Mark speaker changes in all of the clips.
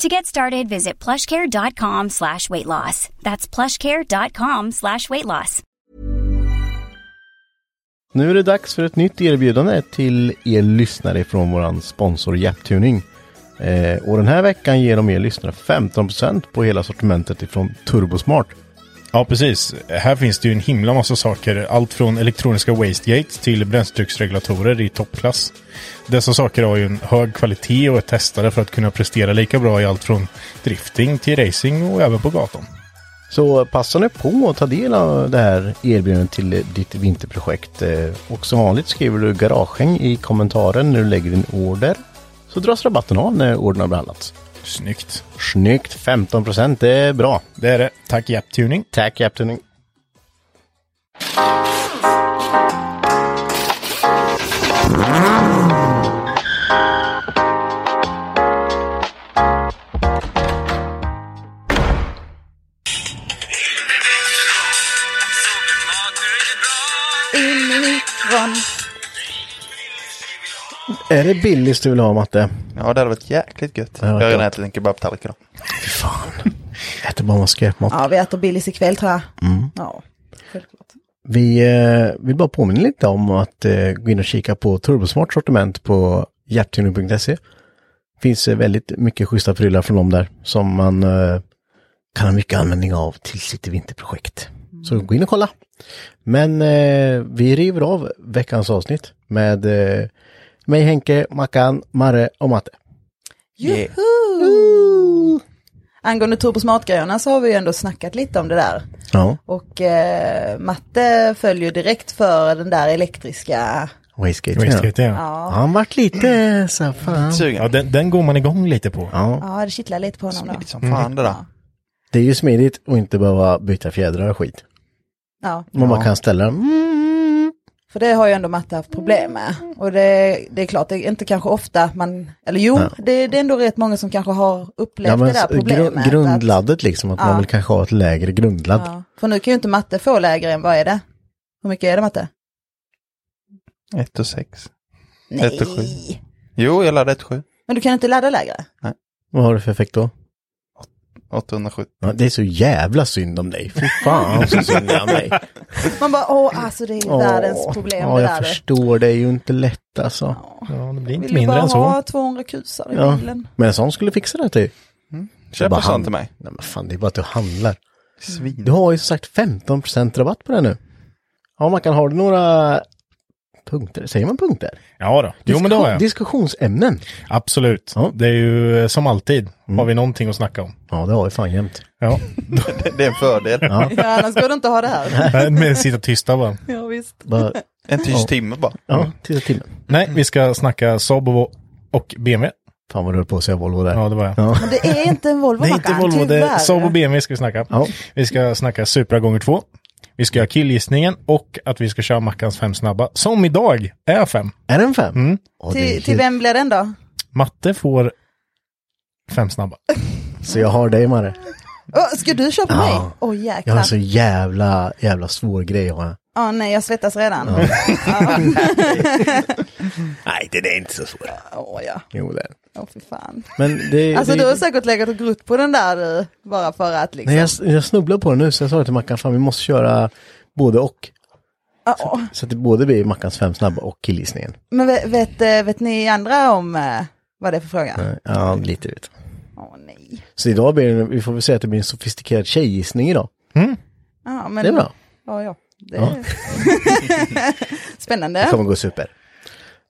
Speaker 1: To get started, visit plushcare.com slash weight loss. That's plushcare.com slash weight loss.
Speaker 2: Nu är det dags för ett nytt erbjudande till er lyssnare från våran sponsor Japtuning. Eh, och den här veckan ger de er lyssnare 15% på hela sortimentet ifrån Turbosmart.
Speaker 3: Ja, precis. Här finns det ju en himla massa saker. Allt från elektroniska wastegates till bränsletrycksregulatorer i toppklass. Dessa saker har ju en hög kvalitet och är testade för att kunna prestera lika bra i allt från drifting till racing och även på gatan.
Speaker 2: Så passa nu på att ta del av det här erbjudandet till ditt vinterprojekt. Eh, Och som vanligt skriver du garagehäng i kommentaren när du lägger din order. Så dras rabatten av när ordern har behandlats.
Speaker 3: Snyggt.
Speaker 2: Snyggt! 15% det är bra.
Speaker 3: Det är det. Tack Japtuning.
Speaker 2: Tack Japtuning. Är det Billys du vill ha Matte?
Speaker 4: Ja, det hade varit jäkligt gött.
Speaker 2: hade
Speaker 4: jag
Speaker 2: varit
Speaker 4: har redan
Speaker 2: gött.
Speaker 4: ätit en kebabtallrik idag.
Speaker 2: Fy fan. Äter bara massa skräpmat.
Speaker 5: Ja, vi äter Billys ikväll tror jag.
Speaker 4: Mm.
Speaker 5: Ja, självklart.
Speaker 2: Vi eh, vill bara påminna lite om att eh, gå in och kika på Turbosmart sortiment på hjärttuning.se. finns eh, väldigt mycket schyssta prylar från dem där som man eh, kan ha mycket användning av till sitt vinterprojekt. Så gå in och kolla. Men eh, vi river av veckans avsnitt med eh, mig Henke, Mackan, Marre och Matte.
Speaker 5: Juhu! Angående turbosmartgrejerna så har vi ju ändå snackat lite om det där.
Speaker 2: Ja,
Speaker 5: Och eh, Matte följer direkt för den där elektriska.
Speaker 2: Wastegate. ja.
Speaker 3: Wastegate, ja.
Speaker 5: Ja,
Speaker 2: Han vart lite så här, fan.
Speaker 4: Sugen.
Speaker 3: ja den, den går man igång lite på.
Speaker 2: Ja,
Speaker 5: ja det kittlar lite på honom då.
Speaker 4: Smidigt som
Speaker 2: Mm.
Speaker 4: fan det där.
Speaker 2: det är ju smidigt att inte behöva byta fjädrar och skit.
Speaker 5: Ja, Mm,
Speaker 2: Man bara kan ställa dem.
Speaker 5: för det har ju ändå Matte haft problem med. Och det, det är klart, det är inte kanske ofta man, eller jo,
Speaker 2: Ja.
Speaker 5: det, det är ändå rätt många som kanske har upplevt det där
Speaker 2: så- gru-
Speaker 5: problemet. att-
Speaker 2: grundladdet liksom, att
Speaker 5: Ja.
Speaker 2: man vill kanske ha ett lägre grundladd.
Speaker 5: Ja. För nu kan ju inte Matte få lägre än, vad är det? Hur mycket är det Matte?
Speaker 2: Mm.
Speaker 4: Ett och sex. Ett och sju.
Speaker 5: Nej,
Speaker 4: Jo, jag laddade ett sju.
Speaker 5: men du kan inte ladda lägre.
Speaker 2: Vad har du för effekt då?
Speaker 4: 870.
Speaker 2: Ja, det är så jävla synd om dig. Fy fan så synd om dig.
Speaker 5: Man bara, åh alltså det är ju världens
Speaker 2: Åh,
Speaker 5: problem
Speaker 2: Ja,
Speaker 5: det
Speaker 2: jag
Speaker 5: där.
Speaker 2: förstår. Det är ju inte lätt alltså.
Speaker 3: Ja, det blir inte
Speaker 5: Vill du
Speaker 3: mindre
Speaker 5: bara
Speaker 3: än så.
Speaker 5: ha 200 kusar i
Speaker 2: Ja.
Speaker 5: bilen?
Speaker 2: Men en sån skulle fixa det till.
Speaker 4: Köp
Speaker 2: bara
Speaker 4: en sån
Speaker 2: hand-
Speaker 4: till mig.
Speaker 2: Nej men fan, det är bara att du handlar.
Speaker 4: Svin.
Speaker 2: Du har ju som sagt 15% rabatt på det nu. Ja, man kan ha några punkter. Säger man punkter?
Speaker 3: Ja då. Jo men det har
Speaker 2: Diskussion-
Speaker 3: jag.
Speaker 2: Diskussionsämnen.
Speaker 3: Absolut.
Speaker 2: Ja. Mm.
Speaker 3: Det är ju eh, som alltid. Har vi någonting att snacka om.
Speaker 2: Ja, det har vi fan jämt.
Speaker 3: Ja.
Speaker 4: Det, det är en fördel.
Speaker 5: Ja, annars går det inte att ha det här.
Speaker 3: Men sitta tysta bara.
Speaker 5: Ja, visst.
Speaker 2: Bara,
Speaker 4: En tyst timme bara.
Speaker 2: ja, titta timmen.
Speaker 3: Nej, vi ska snacka Saab och- och BMW.
Speaker 2: Fan vad du höll på att säga Volvo där.
Speaker 3: Ja, det var jag.
Speaker 5: Men det är inte en Volvo
Speaker 3: Det är
Speaker 5: Mackan,
Speaker 3: inte Volvo, det
Speaker 5: tyvärr.
Speaker 3: är Saab och BMW ska vi snacka.
Speaker 2: Ja.
Speaker 3: Vi ska snacka Supra gånger två. Vi ska göra killgissningen och att vi ska köra Mackans fem snabba, som idag är fem.
Speaker 2: Är den fem?
Speaker 3: Mm.
Speaker 2: Åh, det är
Speaker 5: Till,
Speaker 2: helt-
Speaker 5: till vem blir den då?
Speaker 3: Matte får fem snabba.
Speaker 2: Så jag har dig Marre.
Speaker 5: Åh, ska du köpa
Speaker 2: Ja.
Speaker 5: mig? Åh
Speaker 2: Jag har
Speaker 5: jäklar.
Speaker 2: en så jävla, jävla svår grej har jag.
Speaker 5: Ja, nej, jag svettas redan.
Speaker 2: Nej, det är inte så svårt.
Speaker 5: Åh ja,
Speaker 2: Jo, det är det.
Speaker 5: åh fy fan.
Speaker 2: Men det...
Speaker 5: Alltså
Speaker 2: det,
Speaker 5: du har säkert legat och grott på den där du, bara för att liksom.
Speaker 2: Nej, jag, jag snubblade på det nu så jag sa till Mackan, fan vi måste köra både och.
Speaker 5: Ja,
Speaker 2: Så att det både blir Mackans fem snabba och killgissningen.
Speaker 5: Men vet, vet, eh, vet ni andra om eh, vad det är för fråga?
Speaker 2: Ja, lite vet.
Speaker 5: Åh nej.
Speaker 2: Så idag blir det, vi får väl säga att det blir en sofistikerad tjejgissning idag.
Speaker 5: Ja, men,
Speaker 2: Det är bra.
Speaker 5: Ja, ja. Det
Speaker 2: Ja.
Speaker 5: är... Spännande.
Speaker 2: Det kommer gå super.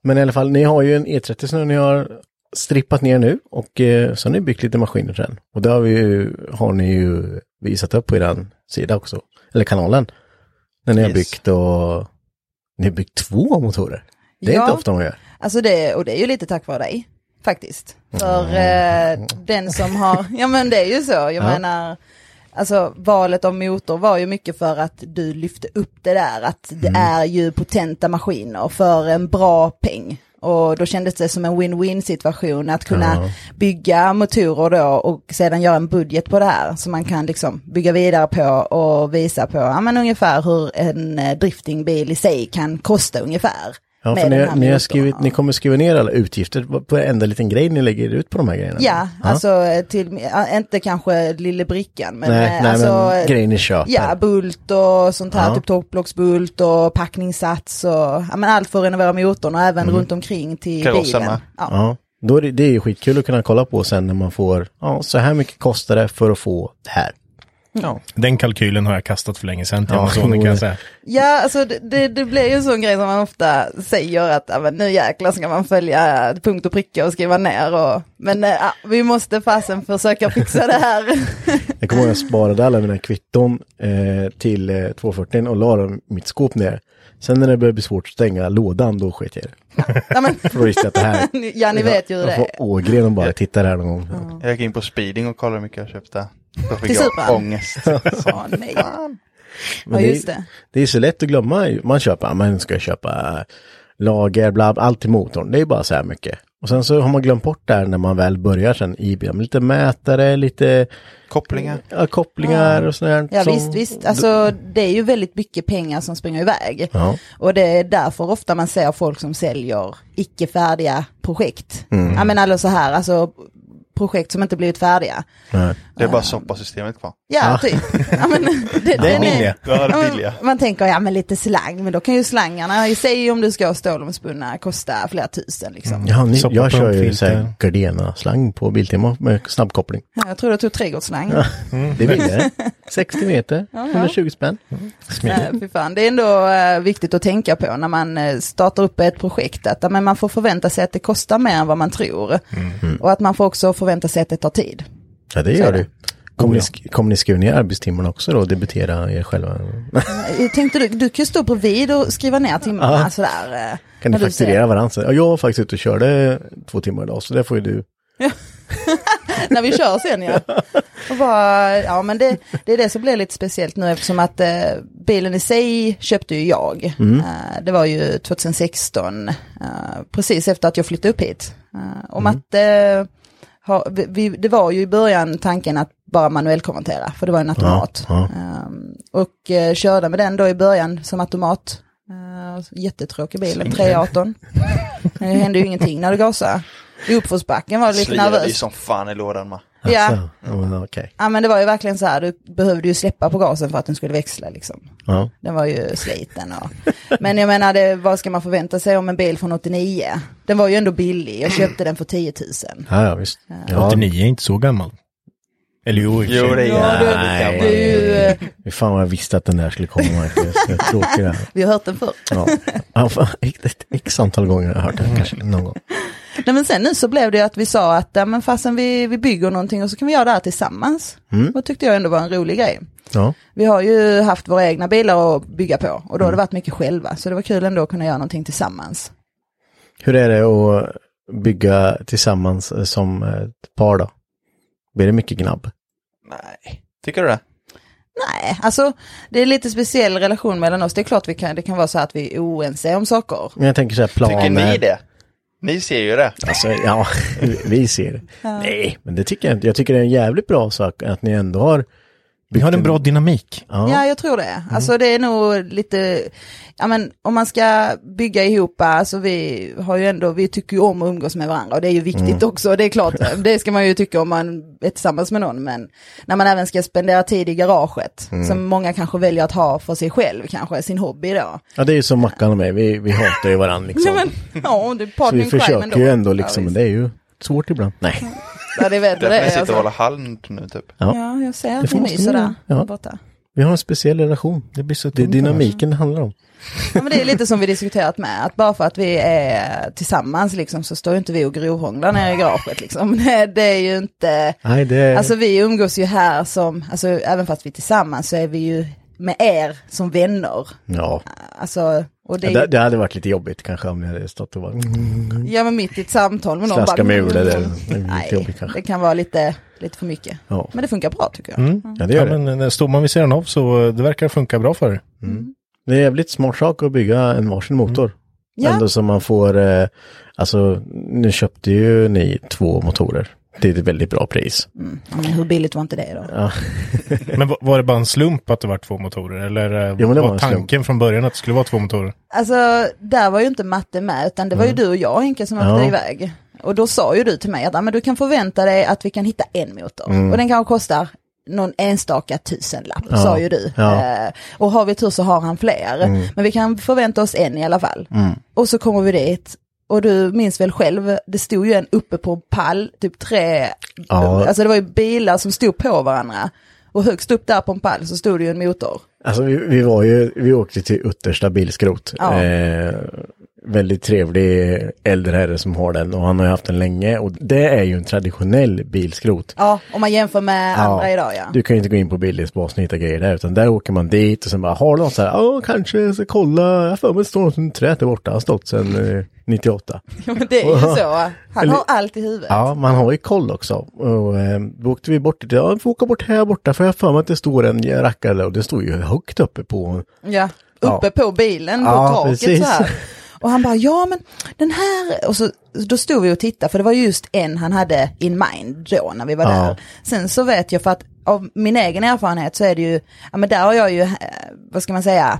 Speaker 2: Men i alla fall, ni har ju en E30 som ni har strippat ner nu och eh, så har ni byggt lite maskiner till den. Och det har, vi ju, har ni ju visat upp på er sida också, eller kanalen. När ni har
Speaker 4: Yes.
Speaker 2: byggt och ni har byggt två motorer. Det är
Speaker 5: Ja.
Speaker 2: inte ofta man gör.
Speaker 5: Alltså det, och det är ju lite tack vare dig, faktiskt. För eh, den som har, ja men det är ju så, jag menar, alltså valet av motor var ju mycket för att du lyfte upp det där, att det är ju potenta maskiner för en bra peng. Och då kändes det som en win-win situation att kunna bygga motorer då och sedan göra en budget på det här som man kan liksom bygga vidare på och visa på ja, men ungefär hur en eh, driftingbil i sig kan kosta ungefär.
Speaker 2: Ja,
Speaker 5: med
Speaker 2: för
Speaker 5: den
Speaker 2: ni,
Speaker 5: här
Speaker 2: ni, har
Speaker 5: motorn.
Speaker 2: skrivit, ni kommer skriva ner alla utgifter på- på varenda liten grej ni lägger ut på de här grejerna.
Speaker 5: Ja, alltså eh, till, ja, inte kanske lille brickan, men
Speaker 2: nej,
Speaker 5: eh,
Speaker 2: nej,
Speaker 5: alltså,
Speaker 2: men
Speaker 5: eh,
Speaker 2: grejer ni köper.
Speaker 5: ja, bult och sånt här,
Speaker 2: Ja.
Speaker 5: typ topplocksbult och packningssats och ja, men allt för att renovera motorn och även runt omkring till
Speaker 4: Karossen
Speaker 5: bilen.
Speaker 4: med.
Speaker 5: Ja.
Speaker 2: Mm. Ja, då är det, det är ju skitkul att kunna kolla på sen när man får, ja, så här mycket kostar det för att få det här.
Speaker 4: Ja.
Speaker 3: Den kalkylen har jag kastat för länge sedan till
Speaker 2: Ja,
Speaker 3: Amazonen
Speaker 2: jo,
Speaker 3: kan jag
Speaker 2: det-
Speaker 3: säga.
Speaker 5: ja, alltså det, det, det blir ju en sån grej som man ofta säger att ja, men nu jäklar ska man följa punkt och pricka och skriva ner och men eh, ja, vi måste fasen försöka fixa det här.
Speaker 2: Jag kommer ihåg att jag sparade alla mina kvitton eh, till eh, 240 och la dem i mitt skåp ner. Sen när det började bli svårt att stänga lådan, då sket jag i det.
Speaker 5: ja, men,
Speaker 2: För då visste jag att det här...
Speaker 5: ja, ni vet ju hur
Speaker 2: Jag
Speaker 5: det är.
Speaker 2: får Ågren och bara titta där någon gång.
Speaker 4: Jag gick in på speeding och kollade hur mycket jag köpte. Då fick
Speaker 5: Till
Speaker 4: jag
Speaker 5: Supran?
Speaker 4: ångest.
Speaker 5: Åh, nej.
Speaker 2: Men
Speaker 5: Ja,
Speaker 2: det är-
Speaker 5: just det.
Speaker 2: Det är så lätt att glömma. ju. Man köper, ja, man ska köpa lager, bla, bla, allt till motorn. Det är bara så här mycket. Och sen så har man glömt bort där när man väl börjar sen i bilen. Lite mätare, lite
Speaker 4: Kopplingar.
Speaker 2: ja, kopplingar och sånt där.
Speaker 5: Ja
Speaker 2: som-
Speaker 5: visst, visst. Alltså det är ju väldigt mycket pengar som springer iväg.
Speaker 2: Ja.
Speaker 5: Och det är därför ofta man ser folk som säljer icke färdiga projekt.
Speaker 2: Mm.
Speaker 5: Ja men alltså så här, alltså projekt som inte blivit färdiga.
Speaker 2: Nej.
Speaker 4: Det är bara soppasystemet kvar.
Speaker 5: Ja, typ. Ja, men, det,
Speaker 2: Det är
Speaker 5: den
Speaker 2: billiga.
Speaker 4: Det var
Speaker 5: Ja,
Speaker 4: det
Speaker 5: men
Speaker 4: billiga.
Speaker 5: Man tänker, ja men lite slang, men då kan ju slangarna i sig om du ska ha stålomspunna kosta flera tusen liksom.
Speaker 2: Ja, ni,
Speaker 3: Soppa
Speaker 2: jag
Speaker 3: på
Speaker 2: kör ju
Speaker 3: filter.
Speaker 2: så här Gardena-slang på Biltema med snabbkoppling.
Speaker 5: Ja, Jag tror det tog trädgårdsslang. Mm.
Speaker 2: Det är billigare. 60 meter, 120 spänn.
Speaker 5: Nej, fy fan. Det är ändå eh, viktigt att tänka på när man eh, startar upp ett projekt, att ja, men man får förvänta sig att det kostar mer än vad man tror.
Speaker 2: Mhm.
Speaker 5: Och att man får också förvänta sig att det tar tid.
Speaker 2: Ja, det gör du. Kommer ni, sk- kommer ni skriva ner arbetstimmarna också då och debitera er själva?
Speaker 5: Eh, Tänkte du, du kan ju stå bredvid och skriva ner timmarna
Speaker 2: Ja.
Speaker 5: sådär. eh,
Speaker 2: Kan
Speaker 5: när
Speaker 2: ni
Speaker 5: du
Speaker 2: fakturera varandra? sen? Ja, jag var faktiskt ute och körde två timmar idag, så det får ju du.
Speaker 5: ser- När vi kör sen ja. Och bara, ja men det, det är det som blir lite speciellt nu eftersom att eh, bilen i sig köpte ju jag. Eh, det var ju 2016, eh, precis efter att jag flyttade upp hit. Eh, och Matte, har, vi- vi, det var ju i början tanken att bara manuellkonvertera, för det var en automat.
Speaker 2: ja.
Speaker 5: Ehm, och eh, körde med den då i början som automat. Uh, jättetråkig bil, en 318. det hände ju ingenting när du gasade. I uppförsbacken var det lite
Speaker 4: Sliade ju
Speaker 5: nervös.
Speaker 4: som fan i lådan med.
Speaker 5: Ja.
Speaker 2: Så, alltså. ja, men okej.
Speaker 5: ja, men det var ju verkligen så här, du behövde ju släppa på gasen för att den skulle växla liksom.
Speaker 2: Ja.
Speaker 5: Den var ju sliten och... Men jag menar, det, vad ska man förvänta sig om en bil från 89? Den var ju ändå billig, jag köpte den för 10 000.
Speaker 2: Ja, ja, visst. Ja,
Speaker 3: 89 är inte så gammal. Eller jo, i och för sig.
Speaker 4: Jo, det är
Speaker 5: Ja, du-
Speaker 4: Nej.
Speaker 5: Det är ju, eh,
Speaker 2: Hur fan vad jag visste att den där skulle komma, Marcus. Det är Tråkigt det här.
Speaker 5: vi har hört den förr.
Speaker 2: Ja. Ja, fan, Ett ett x antal gånger har jag hört det, kanske någon gång.
Speaker 5: Nej men sen nu så blev det ju att vi sa att ja, men fasen vi, vi bygger någonting och så kan vi göra det här tillsammans. Och det tyckte jag ändå var en rolig grej.
Speaker 2: Ja,
Speaker 5: Vi har ju haft våra egna bilar att bygga på och då har det varit mycket själva. Så det var kul ändå att kunna göra någonting tillsammans.
Speaker 2: hur är det att bygga tillsammans eh, som ett par då? Blir det mycket gnabb?
Speaker 4: Nej. Tycker du det?
Speaker 5: Nej, alltså det är lite speciell relation mellan oss. Det är klart vi kan, det kan vara så att vi är oense om saker.
Speaker 2: Men jag tänker så här planer.
Speaker 4: Tycker ni det? Ni ser ju det.
Speaker 2: Alltså, ja, vi ser det. Nej, men det tycker jag inte. Jag tycker det är en jävligt bra sak att ni ändå har...
Speaker 3: Vi har en bra dynamik.
Speaker 2: Ja, Mm.
Speaker 5: Ja, jag tror det. Alltså det är nog lite, ja men om man ska bygga ihop, alltså vi har ju ändå, vi tycker ju om att umgås med varandra och det är ju viktigt
Speaker 2: Mm.
Speaker 5: också, det är klart, det ska man ju tycka om man är tillsammans med någon, men när man även ska spendera tid i garaget,
Speaker 2: Mm.
Speaker 5: som många kanske väljer att ha för sig själv, kanske sin hobby då.
Speaker 2: ja det är ju som Mackan och mig. Vi, vi hatar ju varandra
Speaker 5: Ja,
Speaker 2: liksom.
Speaker 5: men, ja det
Speaker 2: Så
Speaker 5: är
Speaker 2: vi
Speaker 5: partnering
Speaker 2: försöker ju ändå liksom, men
Speaker 5: Ja,
Speaker 2: det är ju svårt ibland. Nej.
Speaker 5: visst. ja det vet jag
Speaker 4: Därför ni
Speaker 5: det.
Speaker 4: sitter och
Speaker 5: Alltså.
Speaker 4: håller hand nu typ.
Speaker 5: Ja, jag ser att
Speaker 2: får
Speaker 5: ni
Speaker 2: man
Speaker 5: myser
Speaker 2: skriva.
Speaker 5: där
Speaker 2: Ja.
Speaker 5: borta.
Speaker 2: Vi har en speciell relation.
Speaker 3: Det blir så
Speaker 2: Det är
Speaker 3: tomt annars.
Speaker 2: dynamiken det handlar om.
Speaker 5: Ja, men det är lite som vi diskuterat med, att bara för att vi är tillsammans liksom, så står ju inte vi och grovhånglar nere i garaget. Liksom. Det- Det är ju inte,
Speaker 2: Nej, det...
Speaker 5: alltså vi umgås ju här som, alltså, även fast vi är tillsammans så är vi ju med er som vänner.
Speaker 2: ja.
Speaker 5: Alltså, och det,
Speaker 2: Det, det hade varit lite jobbigt kanske om ni hade stått och bara...
Speaker 3: Mm.
Speaker 5: ja, men mitt i ett samtal med någon mm,
Speaker 2: Slaska med ur det där. Det är lite
Speaker 5: Nej,
Speaker 2: jobbigt kanske.
Speaker 5: det kan vara lite, lite för mycket.
Speaker 2: Ja,
Speaker 5: Men det funkar bra tycker jag.
Speaker 3: Mm.
Speaker 2: ja det
Speaker 3: Ja,
Speaker 2: gör det.
Speaker 3: men eh, står man vid sidan av så eh, det verkar funka bra för er.
Speaker 2: Det är en jävligt smart sak att bygga en varsin
Speaker 3: Mm.
Speaker 2: motor.
Speaker 5: Ja,
Speaker 2: Ändå som man får, eh, alltså nu köpte ju ni två motorer till ett väldigt bra pris.
Speaker 5: mm. Ja, men hur billigt var inte det då?
Speaker 2: Ja,
Speaker 3: Men va- var det bara en slump att det var två motorer? Eller eh,
Speaker 2: Jo, men det
Speaker 3: var,
Speaker 2: var en slump.
Speaker 3: tanken från början att det skulle vara två motorer?
Speaker 5: Alltså, där var ju inte matte med, utan det var ju du och jag Henke som
Speaker 2: Ja.
Speaker 5: åkte iväg. Och då sa ju du till mig att "Ja, men du kan förvänta dig att vi kan hitta en motor. Och den kanske kostar någon enstaka tusenlapp,
Speaker 2: Mm. Ja.
Speaker 5: sa ju du.
Speaker 2: Ja. Mm.
Speaker 5: Eh, och har vi tur så har han fler. Men vi kan förvänta oss en i alla fall. Och så kommer vi dit. Och du minns väl själv, det stod ju en uppe på en pall, typ tre,
Speaker 2: Ja.
Speaker 5: alltså det var ju bilar som stod på varandra. Och högst upp där på en pall så stod det ju en motor.
Speaker 2: alltså vi, vi var ju, vi åkte till Uttersta bilskrot.
Speaker 5: Ja.
Speaker 2: Eh, väldigt trevlig äldre herre som har den och han har ju haft den länge och det är ju en traditionell bilskrot.
Speaker 5: Ja, om man jämför med andra idag ja.
Speaker 2: Du kan ju inte gå in på Billingsbasen och hitta grejer där, utan där åker man dit och sen bara, har du något så här, ja kanske jag ska kolla, jag har för mig att det står något under trädet där borta, han har stått sedan eh, 98.
Speaker 5: Ja, men det är ju så. Han
Speaker 2: Eller-
Speaker 5: har allt i huvudet.
Speaker 2: Ja, man har ju koll också. Och eh, då åkte vi bort, till- ja vi får åka bort här borta för jag har för mig att det står en rackare där och det står ju högt uppe på.
Speaker 5: Ja, uppe på bilen, på
Speaker 2: Ja,
Speaker 5: taket
Speaker 2: precis.
Speaker 5: så här. Och han bara, ja men den här, och så då stod vi och tittade, för det var just en han hade in mind då när vi var
Speaker 2: Ja.
Speaker 5: där. Sen så vet jag för att av min egen erfarenhet så är det ju, ja men där har jag ju, eh, vad ska man säga,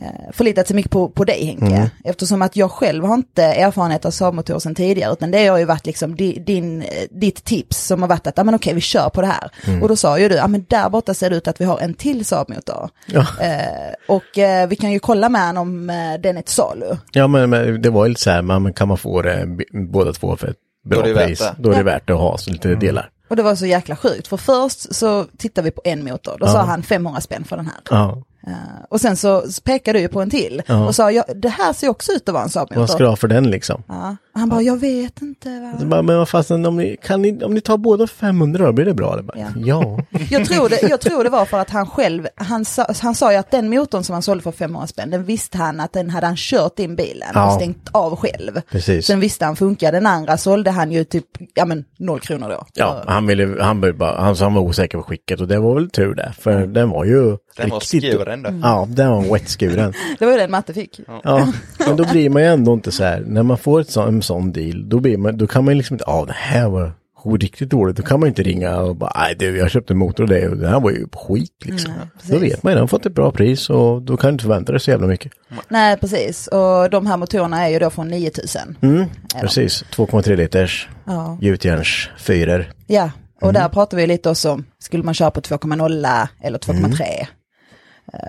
Speaker 5: eh, förlitat sig mycket på, på dig Henke.
Speaker 2: Mm.
Speaker 5: Eftersom att jag själv har inte erfarenhet av Saab-motor sedan tidigare, utan det har ju varit liksom di- din, eh, ditt tips som har varit att, ja men okej vi kör på det här.
Speaker 2: Mm.
Speaker 5: Och då sa ju du, ja men där borta ser det ut att vi har en till Saab-motor.
Speaker 2: Ja,
Speaker 5: Eh, och eh, vi kan ju kolla med honom om eh, den är till salu.
Speaker 2: ja men, men det var ju lite så här, man, men kan man få det, b- båda två för ett bra
Speaker 4: Då är det värt
Speaker 2: pris,
Speaker 4: det. Mm.
Speaker 2: då är det värt att ha så lite delar.
Speaker 5: Och det var så jäkla sjukt, för först så tittade vi på en motor, då sa han 500 spänn för den här.
Speaker 2: Ja,
Speaker 5: Eh, och sen så pekade du ju på en till och sa, ja, det här ser ju också ut att vara en
Speaker 2: vad ska du
Speaker 5: Saab-motor.
Speaker 2: ha för den liksom?
Speaker 5: Ja. Och han bara, jag vet inte.
Speaker 2: Så
Speaker 5: Va?
Speaker 2: bara, Men vad fasen, om ni, kan ni, om ni tar båda för 500 då, blir det bra? Det bara,
Speaker 5: Ja.
Speaker 2: ja. ja.
Speaker 5: Jag, tror det, jag tror det var för att han själv, han sa, han sa ju att den motorn som han sålde för 500 spänn, den visste han att den hade han kört in bilen och
Speaker 2: Ja.
Speaker 5: stängt av själv.
Speaker 2: Precis.
Speaker 5: Sen visste han funkar, den andra sålde han ju typ, ja men noll kronor då.
Speaker 2: Ja, han ville, han ville bara, han, så han var osäker på skicket och det var väl tur det, för den var ju
Speaker 4: Mm. Den var
Speaker 2: riktigt...
Speaker 4: skuren då.
Speaker 2: Ja, den var wet-skuren.
Speaker 5: Det var ju den matte fick.
Speaker 2: Ja, men då blir man ju ändå inte så här, när man får ett så, en sån deal, då, blir man, då kan man ju liksom inte, ja det här var riktigt dåligt, då kan man ju inte ringa och bara, nej du jag köpte en motor och det och det här var ju skit liksom. då vet man ju, den har fått ett bra pris och då kan du inte förvänta dig så jävla mycket.
Speaker 5: Nej, precis. Och de här motorerna är ju då från 9000.
Speaker 2: Mm, Precis, 2,3 liters,
Speaker 5: Ja.
Speaker 2: gjutjärns, fyror.
Speaker 5: ja,
Speaker 2: Mhm.
Speaker 5: och där pratar vi lite också om, skulle man köra på 2,0 eller 2,3?
Speaker 2: Mm.
Speaker 5: Eh,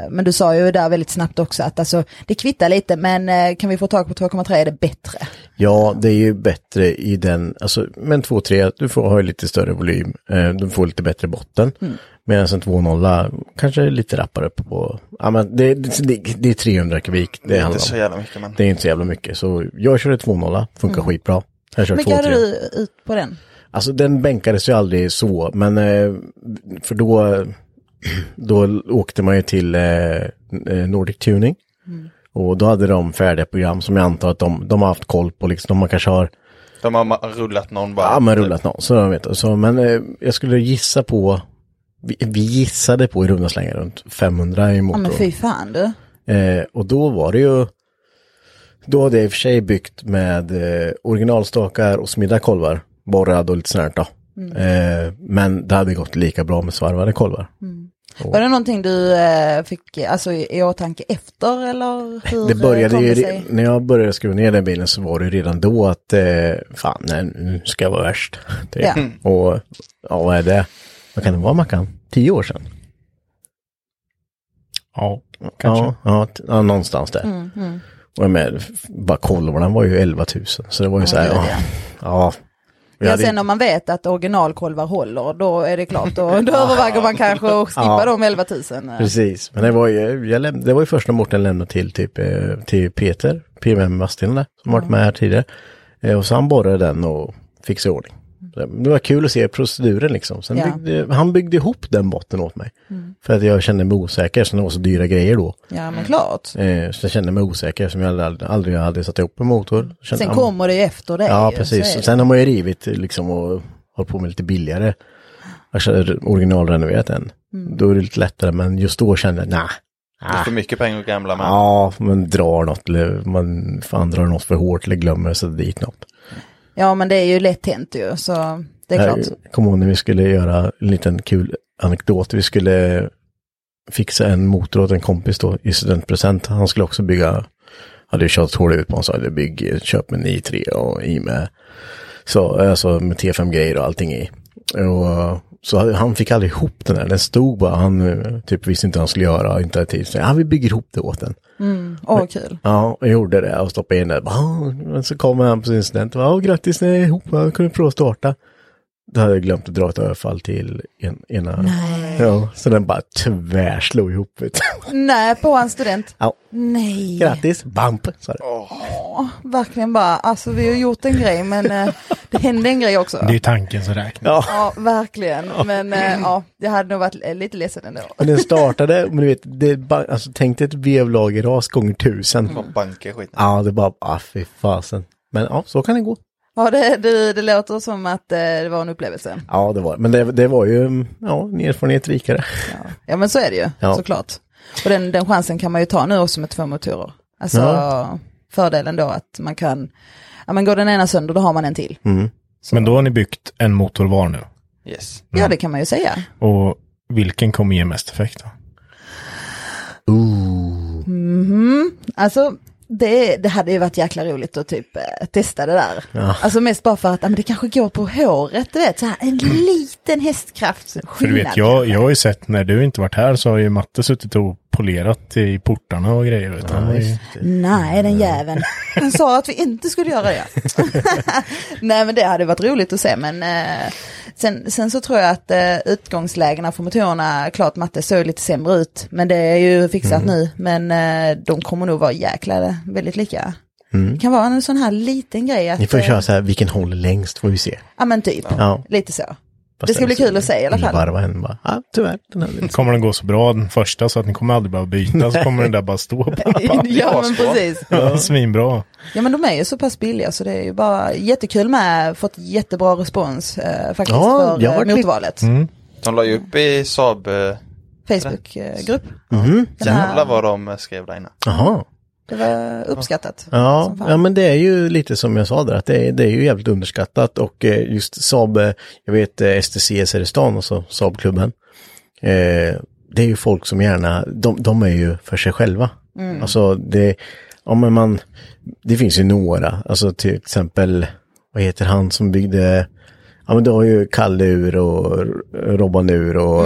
Speaker 5: Men du sa ju där väldigt snabbt också att alltså, det kvittar lite, men eh, kan vi få tag på 2,3 är det bättre.
Speaker 2: Ja, det är ju bättre i den, alltså, men 2-3, du får ha lite större volym, eh, du får lite bättre botten. Medan en 2-0 kanske är lite rappare uppe på, ja men det, det, det, det är 300 kubik det,
Speaker 4: Det är
Speaker 2: handlar
Speaker 4: inte
Speaker 2: om.
Speaker 4: så jävla mycket men.
Speaker 2: Det är inte så jävla mycket, så jag körde 2-0, funkar skitbra. Jag kör
Speaker 5: Mycket hade
Speaker 2: 2-3.
Speaker 5: du ut på den?
Speaker 2: Alltså den bänkades ju aldrig så, men eh, för då, då åkte man ju till eh, Nordic Tuning. Och då hade de färdiga program som jag antar att de, de har haft koll på, liksom, de man kanske har
Speaker 4: De har ma- rullat någon bara.
Speaker 2: Ja, men rullat någon, så jag vet. Så, men eh, jag skulle gissa på, vi, vi gissade på i runda slängar runt 500 i
Speaker 5: Ja,
Speaker 2: motorn.
Speaker 5: men fy fan du.
Speaker 2: eh, och då var det ju, Då hade jag i och för sig byggt med eh, originalstakar och smidda kolvar. Borrad och lite sånt här då. Eh, men det hade gått lika bra med svarvade kolvar.
Speaker 5: Var det någonting du eh, fick alltså, i i åtanke efter eller hur
Speaker 2: Det började
Speaker 5: kom
Speaker 2: ju,
Speaker 5: det sig?
Speaker 2: när jag började skruva ner den bilen så var det ju redan då att eh, fan, nej, nu ska jag vara värst. Typ.
Speaker 5: Ja.
Speaker 2: Och ja, vad är det? Vad kan det vara Mackan? Tio år sedan?
Speaker 3: Ja, kanske.
Speaker 2: Ja, ja, t- ja någonstans där.
Speaker 5: Mm,
Speaker 2: Och jag med, f- bara kolvarna var ju 11 000, så det var ju så här,
Speaker 5: det är
Speaker 2: ja.
Speaker 5: det.
Speaker 2: ja. Vi
Speaker 5: Ja,
Speaker 2: hade-
Speaker 5: sen om man vet att originalkolvar håller, då är det klart, då, då överväger man kanske att skippa
Speaker 2: Ja.
Speaker 5: de 11 000. eh.
Speaker 2: Precis, men det var ju, jag läm- det var ju först när Mårten lämnade till, typ, eh, till Peter, PMM Vadstena, där, som varit med här tidigare. Eh, Och så han borrade den och fixade i ordning. Så Det var kul att se proceduren liksom. Sen
Speaker 5: Ja. Mm.
Speaker 2: byggde, han byggde ihop den botten åt mig. För att jag kände mig osäker, så det var så dyra grejer då.
Speaker 5: Ja, men klart.
Speaker 2: Eh, Så jag kände mig osäker som jag aldrig, aldrig hade satt ihop en motor. Kände,
Speaker 5: Mm. Sen
Speaker 2: ja, men-
Speaker 5: kommer det ju efter det.
Speaker 2: Ja,
Speaker 5: ju,
Speaker 2: precis.
Speaker 5: så är det.
Speaker 2: Sen har man ju rivit liksom och hållit på med lite billigare. Jag kör originalrenoverat än.
Speaker 5: Mm.
Speaker 2: Då är det lite lättare, men just då kände jag, nej.
Speaker 6: Det är för mycket pengar att gamla med.
Speaker 2: Ah. Ja, man drar något eller man fan drar något för hårt eller glömmer att sätta dit något.
Speaker 5: Ja, men det är ju lätt hänt ju, så det är klart.
Speaker 2: Jag kommer ihåg när vi skulle göra en liten kul anekdot. Vi skulle fixa en motor åt en kompis då i studentpresent. Han skulle också bygga, hade ju kört hål ut på honom, sa "Du, bygg, köp med i 3 och i med, så, alltså med T5-grejer och allting i. Och, så han fick aldrig ihop den där, den stod bara, han eh, typ visste inte vad han skulle göra, inte hade tid. Så ja, vi bygger ihop det åt den.
Speaker 5: Åh, kul.
Speaker 2: Ja, jag gjorde det och stoppade in det. Bara, "Ah." Men så kom han på sin student och bara, "Ah, grattis, ni är ihop, jag kunde prova att starta. Då hade jag glömt att dra ett överfall till en, ena. Ja, så den bara tvärslog ihop. Vet. du.
Speaker 5: Nej, på hans student.
Speaker 2: Ja,
Speaker 5: Nej,
Speaker 2: grattis, bamp, sa det.
Speaker 5: verkligen bara, alltså vi har gjort en grej, men eh, det hände en grej också.
Speaker 3: Det är tanken som räknas.
Speaker 2: Ja.
Speaker 5: Ja, verkligen. Men eh, ja, jag hade nog varit eh, lite ledsen ändå.
Speaker 2: Och den startade, men du vet, det, bara- alltså, tänk dig ett vevlagerras gånger tusen.
Speaker 6: Bara banka skit.
Speaker 2: Ja, det bara, ah, fy fasen. Men ja, så kan det gå.
Speaker 5: Ja, det, det, det låter som att eh, det var en upplevelse.
Speaker 2: Ja, det var Men det, det var ju, ja, en erfarenhet rikare.
Speaker 5: Ja, ja men så är det ju,
Speaker 2: Ja.
Speaker 5: såklart. Och den, den chansen kan man ju ta nu också med två motorer. Alltså
Speaker 2: Ja.
Speaker 5: fördelen då att man kan, ja men går den ena sönder då har man en till.
Speaker 3: Men då har ni byggt en motor var nu.
Speaker 6: Yes.
Speaker 5: Ja, det kan man ju säga.
Speaker 3: Och vilken kommer ge mest effekt? Då?
Speaker 5: Alltså, det, det hade ju varit jäkla roligt att typ eh, testa det där. Alltså mest bara för att ja, men det kanske går på håret, du vet, så här en liten hästkraft
Speaker 3: Mm. För du vet, jag, jag har ju sett när du inte varit här så har ju Matte suttit och polerat i portarna och grejer. Vet du. Han har ju,
Speaker 5: Nej,
Speaker 3: Mm.
Speaker 5: den jäveln. Han sa att vi inte skulle göra det. Nej, men det hade varit roligt att se. Men eh, sen, sen så tror jag att eh, utgångslägena för motorerna, klart matte såg lite sämre ut. Men det är ju fixat
Speaker 3: Mm.
Speaker 5: nu. Men eh, de kommer nog vara jäkla väldigt lika.
Speaker 3: Mm.
Speaker 5: Det kan vara en sån här liten grej att...
Speaker 2: Ni får
Speaker 5: eh,
Speaker 2: köra så här, vilken håller längst får vi se.
Speaker 5: Ja, men typ.
Speaker 2: Ja.
Speaker 5: Lite så.
Speaker 2: Fast
Speaker 5: Det ska
Speaker 2: den
Speaker 5: bli
Speaker 2: så-
Speaker 5: kul att se i alla fall.
Speaker 2: Varva en bara, ja tyvärr, den här lite.
Speaker 3: kommer den gå så bra den första så att ni kommer aldrig behöva byta så kommer den där bara stå på.
Speaker 5: ja, men precis.
Speaker 3: Ja, Svinbra.
Speaker 5: Ja, men de är ju så pass billiga så det är ju bara jättekul med. Fått jättebra respons eh, faktiskt
Speaker 2: Ja,
Speaker 5: för
Speaker 2: jag har
Speaker 5: eh,
Speaker 2: varit Mm. lite-
Speaker 5: motorvalet.
Speaker 6: De la ju upp i Saab. eh,
Speaker 5: Facebookgrupp. eh, Den här-
Speaker 6: Jävlar vad de eh, skrev där inne.
Speaker 2: Jaha.
Speaker 5: Det var uppskattat.
Speaker 2: Ja,
Speaker 5: Som fan.
Speaker 2: ja, men det är ju lite som jag sa där, att det är, det är ju jävligt underskattat och eh, just Saab, eh, jag vet eh, STCS här i stan, alltså Saabklubben, eh, det är ju folk som gärna, de, de är ju för sig själva.
Speaker 5: Mm.
Speaker 2: Alltså det, ja men man, det finns ju några, alltså till exempel, vad heter han som byggde, ja men du har ju Kalle Ur och R- Robban Ur och,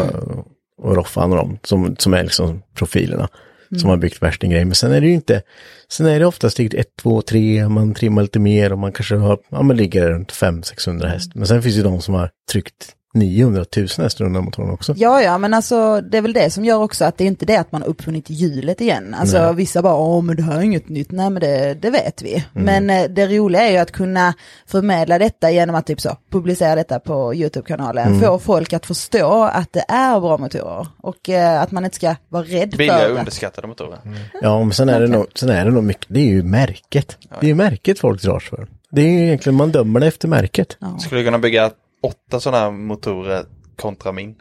Speaker 2: och Roffan och de som, som är liksom profilerna som har byggt värst en grej. Men sen är det ju inte, sen är det oftast typ steg 1, 2, 3, man trimmar lite mer och man kanske har, ja men ligger runt 500-600 häst. Men sen finns ju de som har tryckt 900 000 häst runt den här motorn också.
Speaker 5: Ja, ja, men alltså det är väl det som gör också att det är inte det att man har uppfunnit hjulet igen. Alltså vissa bara, åh men det här är inget nytt, nej men det, det vet vi.
Speaker 3: Mm.
Speaker 5: Men eh, det roliga är ju att kunna förmedla detta genom att typ så, publicera detta på YouTube-kanalen.
Speaker 3: Mm.
Speaker 5: Få folk att förstå att det är bra motorer och eh, att man inte ska vara rädd
Speaker 6: Billiga
Speaker 5: för det.
Speaker 6: underskattade motorer.
Speaker 2: Mm. Ja, men sen är, det nog, sen är det nog mycket, det är ju märket. Det är ju märket folk dras för. Det är ju egentligen, man dömer det efter märket.
Speaker 6: Skulle kunna bygga åtta sådana här motorer kontra min.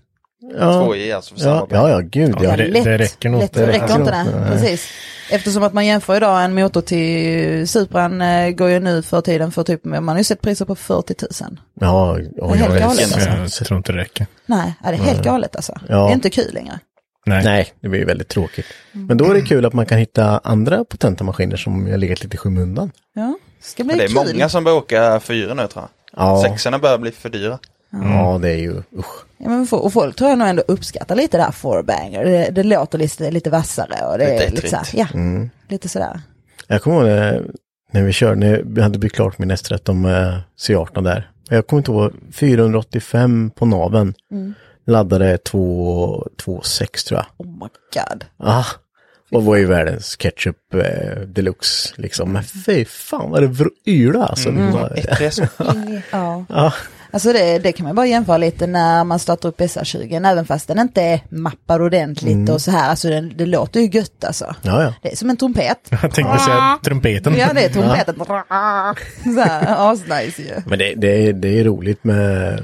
Speaker 2: Ja,
Speaker 6: Två i alltså för samma
Speaker 2: ja,
Speaker 6: pengar.
Speaker 2: ja, ja gud ja.
Speaker 3: det- det räcker nog
Speaker 5: lätt,
Speaker 3: inte.
Speaker 5: räcker inte
Speaker 2: Nej.
Speaker 5: det, precis. Eftersom att man jämför idag en motor till Supran eh, går ju nu för tiden för typ, man har ju sett priser på 40 000.
Speaker 2: Ja,
Speaker 5: är
Speaker 2: oj,
Speaker 5: helt
Speaker 2: jag,
Speaker 5: galet, alltså.
Speaker 3: Jag tror inte det räcker.
Speaker 5: Nej, ja, det är helt galet alltså.
Speaker 2: Ja.
Speaker 5: Det är inte kul längre.
Speaker 3: Nej.
Speaker 2: Nej, det blir ju väldigt tråkigt. Men då är det kul att man kan hitta andra potenta maskiner som har legat lite i skymundan.
Speaker 5: Ja, det ska bli
Speaker 6: Men det är
Speaker 5: kul.
Speaker 6: många som börjar åka fyra nu tror jag.
Speaker 2: Ja,
Speaker 6: Sexorna börjar bli för dyra.
Speaker 2: ja det är ju, usch.
Speaker 5: Ja, men fo- och folk tror jag nog ändå uppskattar lite det här fourbanger. Det, det låter lite, lite vassare och det
Speaker 6: Lite
Speaker 5: är lite,
Speaker 6: ettrigt.
Speaker 5: så här, ja, lite sådär.
Speaker 2: Mm. Jag kommer ihåg när, när vi körde, när jag hade byggt klart min S13 med C18 där. Jag kommer inte ihåg, 485 på naven. Laddade 2, 2,6 tror jag.
Speaker 5: Oh my god.
Speaker 2: Ah, och var ju världens ketchup eh, deluxe liksom. Men fy fan vad det vr- yra alltså. Det var-
Speaker 6: Ett resor.
Speaker 5: Ja. Alltså det, det kan man bara jämföra lite när man startar upp SR20, även fast den inte är mappad ordentligt och så här, alltså det, det låter ju gött alltså.
Speaker 2: Ja, ja.
Speaker 5: Det är som en trumpet.
Speaker 3: Jag tänkte säga trumpeten.
Speaker 5: Ja, det är trumpeten. Så här, asnice ju.
Speaker 2: Men det, det, är- det är roligt med